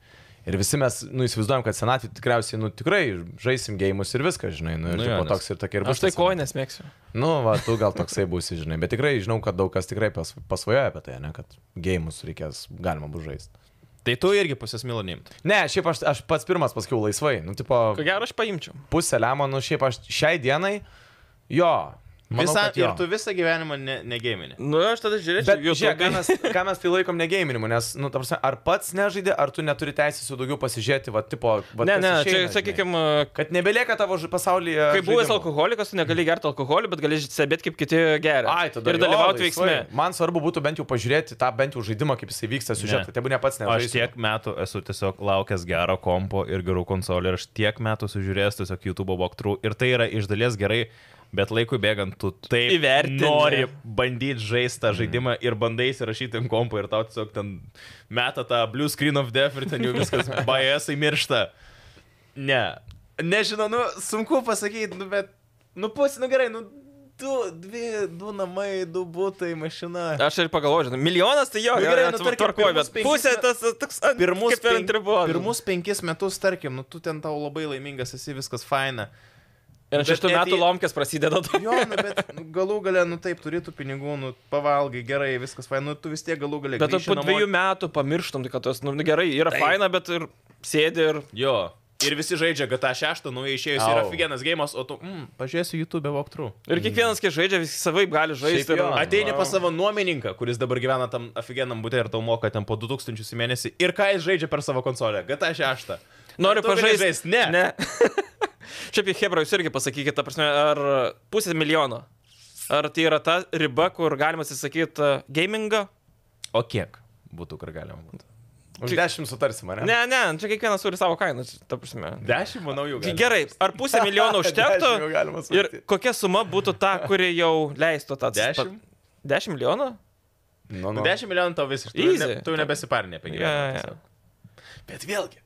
Ir visi mes, nu, įsivaizduojam, kad senatvį tikriausiai, nu, tikrai žaisim gėjimus ir viską, žinai, nu, ir Nu nu, jo, tipo, nes- toks ir tokia ir bus. Aš tai ta ko senatvė. nesmėgsiu. Nu, va, tu gal toksai būsi, žinai, bet tikrai žinau, kad daug kas tikrai pas, pasvajoja apie tai, ne, kad gėjimus reikės, galima bus žaisti. Tai tu irgi pusės milų neimtum. Ne, šiaip aš, aš pats pirmas pasakiau laisvai, nu, tipo, Ko gero aš paimčiau. pusę lemonų, šiaip aš šiai dienai, jo. Manau, Visa, kad jo. ir tu visą gyvenimą ne- negėminė. Nu, aš tada žiūrėčiau. Bet YouTube. žiūrėk, ką mes, ką mes tai laikom negėminimu, nes, nu, ta prasme, ar pats nežaidė, ar tu neturi teisės jau daugiau pasižiūrėti, va, tipo, va, Ne, kas ne, čia, išeina, žinai. sakykime, Kad nebelieka tavo ž- pasaulyje. kai buvęs žaidimų. alkoholikas, tu negali gerti alkoholį, bet gali stebėti, kaip kiti geria. Ai, tada ir jo, dalyvauti laisvai. veiksme. Man svarbu būtų bent jau pažiūrėti tą bent jau žaidimą, kaip jisai vyksta, Ne. sužinoti, kad tai būtų ne pats Aš nežaidžiu. tiek metų esu tiesiog laukęs gero kompo ir gerų konsolių ir aš tiek metų sužiūrėjęs tiesiog YouTube walkthrough ir tai yra iš dalies gerai, bet laikui bėgant tu taip Įvertini. nori bandyti žaisti tą žaidimą ir bandai įsirašyti ant kompo ir tau tiesiog ten meta tą blue screen of death ir ten jau viskas bajasai miršta. Ne. Nežinau, nu, sunku pasakyti, nu, bet, nu, pusė, nu gerai, nu, du, dvi, du namai, du būtai, mašina. Aš ir pagalvoju, žinai, milijonas tai jo, Nu, jo, gerai, jo, nu, tvar- tarkim, tvarkoj, pirmus bet penkis pusė met- tas a, toks ant- pirmus, kaip ir pen... ant ribos. pirmus penkis metus, tarkim, nu, tu ten tau labai laimingas, esi viskas faina. Ir bet šeštų net metų į- lomkės prasideda to. Jo, nu, bet nu, galų gale, nu taip, turėtų pinigų, nu, pavalgai gerai, viskas faina, nu, tu vis tiek galų gale. Bet tu grįši po namo. dviejų metų pamirštum, kad tas, nu gerai, yra faina, bet ir sėdi ir... Jo. Ir visi žaidžia GTA 6, naujai išėjęs Au. yra figenas gėjimas, o tu, mm, pažiūrėsiu YouTube walkthrough. Ir kiekvienas, kai žaidžia, visi savaip gali žaisti. Šiaip ir- jo. Ateini Wow. pas savo nuomininką, kuris dabar gyvena tam aфиgenam būte ir tau moka ten po 2000 į mėnesį. Ir ką jis žaidžia per savo konsolę? GTA 6. Noriu Nu, Tu gali pažaisti. žaist? Ne. ne. Šiaip į Hebrą jūs irgi pasakykite, ta prasme, ar pusė milijono. Ar tai yra ta riba, kur galima atsisakyti e, gamingo? O kiek būtų, kur galima būtų? Už dešimt sutarsim, ar ne? Ne, ne, čia kiekvienas turi savo kainą, čia, ta prasme. 10, manau, jau. Tai galima. gerai, ar pusę milijono Dešimt jau užtektų? galima Ir svarstyt. kokia suma būtų ta, kuri jau leistų tą Dešimt? 10 milijonų? Nu, Nu, nu. 10 milijonų tau visiškai. Tu, Easy. ne, tu nebesiparinė apie Ja, ja. gyvenimą. Ja, ja. Bet vėlgi,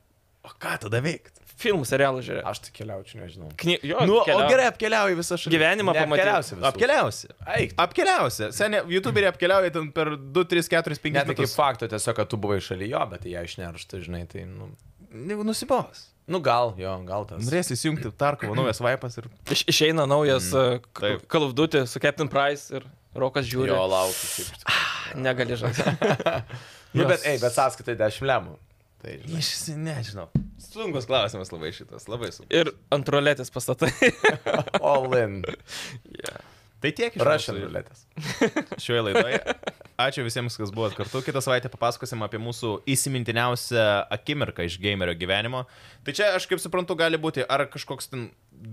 o ką tada veikti? Filmų serialų žiūrėti. Aš tai keliaučiu, nežinau. Kny... Jo, Nu, o keliau- gerai, apkeliauji visą šalį. Gyvenimą pamatyti. Geriausia visų. Apkeliausi. Eik. Apkeliausi. Seniai, YouTuberiai apkeliauja ten per 2, 3, 4, 5 Net iki metus. fakto tiesiog, kad tu buvai šalia jo, bet tai ją išneršta, žinai, tai, nu. Negu nusibos. Nu gal, jo, gal tas. Norėsi įsijungti Tarkovo naujas vaipas ir... Iš, išeina naujas mm, taip. kalvdutė su Captain Price ir Rokas žiūri. Jo, Jo, laukiu. šiaip iš tikrųjų. negali žaisti. Nu, bet, ei, bet sąskaitai 10 lemų. Tai, žinai. Iš nežinau. Sunkus klausimas labai šitas, labai sunkus. Ir ant roletės pastatai. All in. Tai tiek iš Russian mūsų ruletės. šioje laidoje. Ačiū visiems, kas buvot kartu. Kitą savaitę papasakosim apie mūsų įsimintiniausią akimirką iš gamerio gyvenimo. Tai čia, aš kaip suprantu, gali būti ar kažkoks ten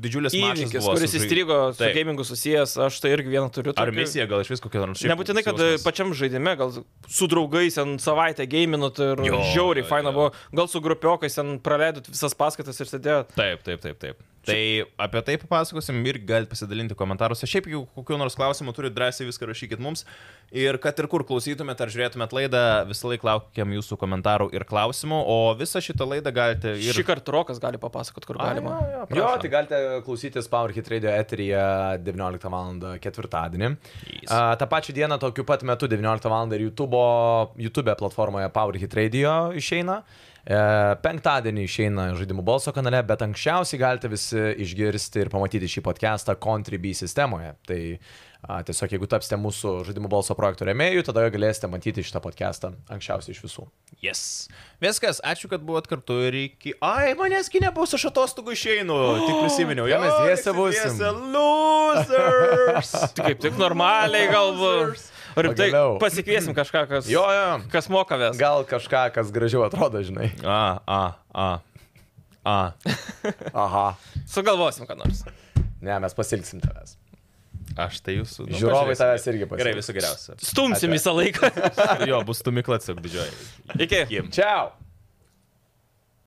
didžiulis mačas Įvykis, buvo kuris su žai- įstrigo su Taip. gamingu susijęs, aš tai irgi vieną turiu. Ar tokį. misija gal iš vis kokia nors šiaip Nebūtinai, kad e, jausmas. pačiam žaidime, gal su draugais ten savaitę gaiminot ir Jo, jo, žiauriai jo, faina jo. buvo, gal su grupiokais ten praleidot visas paskaitas ir sėdėjot. Taip, taip, taip, taip. Tai apie tai papasakosim ir galite pasidalinti komentaruose. Šiaip jau kokiu nors klausimu turite drąsiai viską rašykit mums. Ir kad ir kur klausytumėt ar žiūrėtumėt laidą, visą laiką laukiam jūsų komentarų ir klausimų. O visą šitą laidą galite Ir... ir... Šį kartą Rokas gali papasakot, kur galima. A, jo, jo, Jo, prašom. tai galite klausytis Power Hit Radio eteryje 19 val. ketvirtadienį. Yes. A, tą pačią dieną tokiu pat metu 19 val. ir YouTube, YouTube platformoje Power Hit Radio išeina. E, penktadienį išeina žaidimų balso kanale, bet anksčiausiai galite visi išgirsti ir pamatyti šį podcastą Contribui sistemoje. Tai a, tiesiog jeigu tapsite mūsų žaidimų balso projektų remėjų, tada galėsite matyti šitą podcastą anksčiausiai iš visų. Yes. Viskas, ačiū, kad buvot kartu ir iki... Ai, manęs kinė bus, aš atostogų išeinu. Tik prisiminiau, tai jo, mes dviese visi būsim. dviese Losers. Tai kaip tik normaliai galbūt. Rimtai Pagaliau. pasikviesim kažką, kas, Jo, jo. kas moka ves. Gal kažką, kas gražiau atrodo, žinai. A, a, a. A. Aha. Sugalvosim, ką nors. Ne, mes pasilgsim tavęs. Aš tai jūsų. nu, Žiūrovai pažiūrėsim. tavęs irgi pasilgs. Gerai, viso geriausio. Stumsim Ate. visą laiką. Jo, bus tu miklas apdidžioji. Iki. Jiem. Čiau!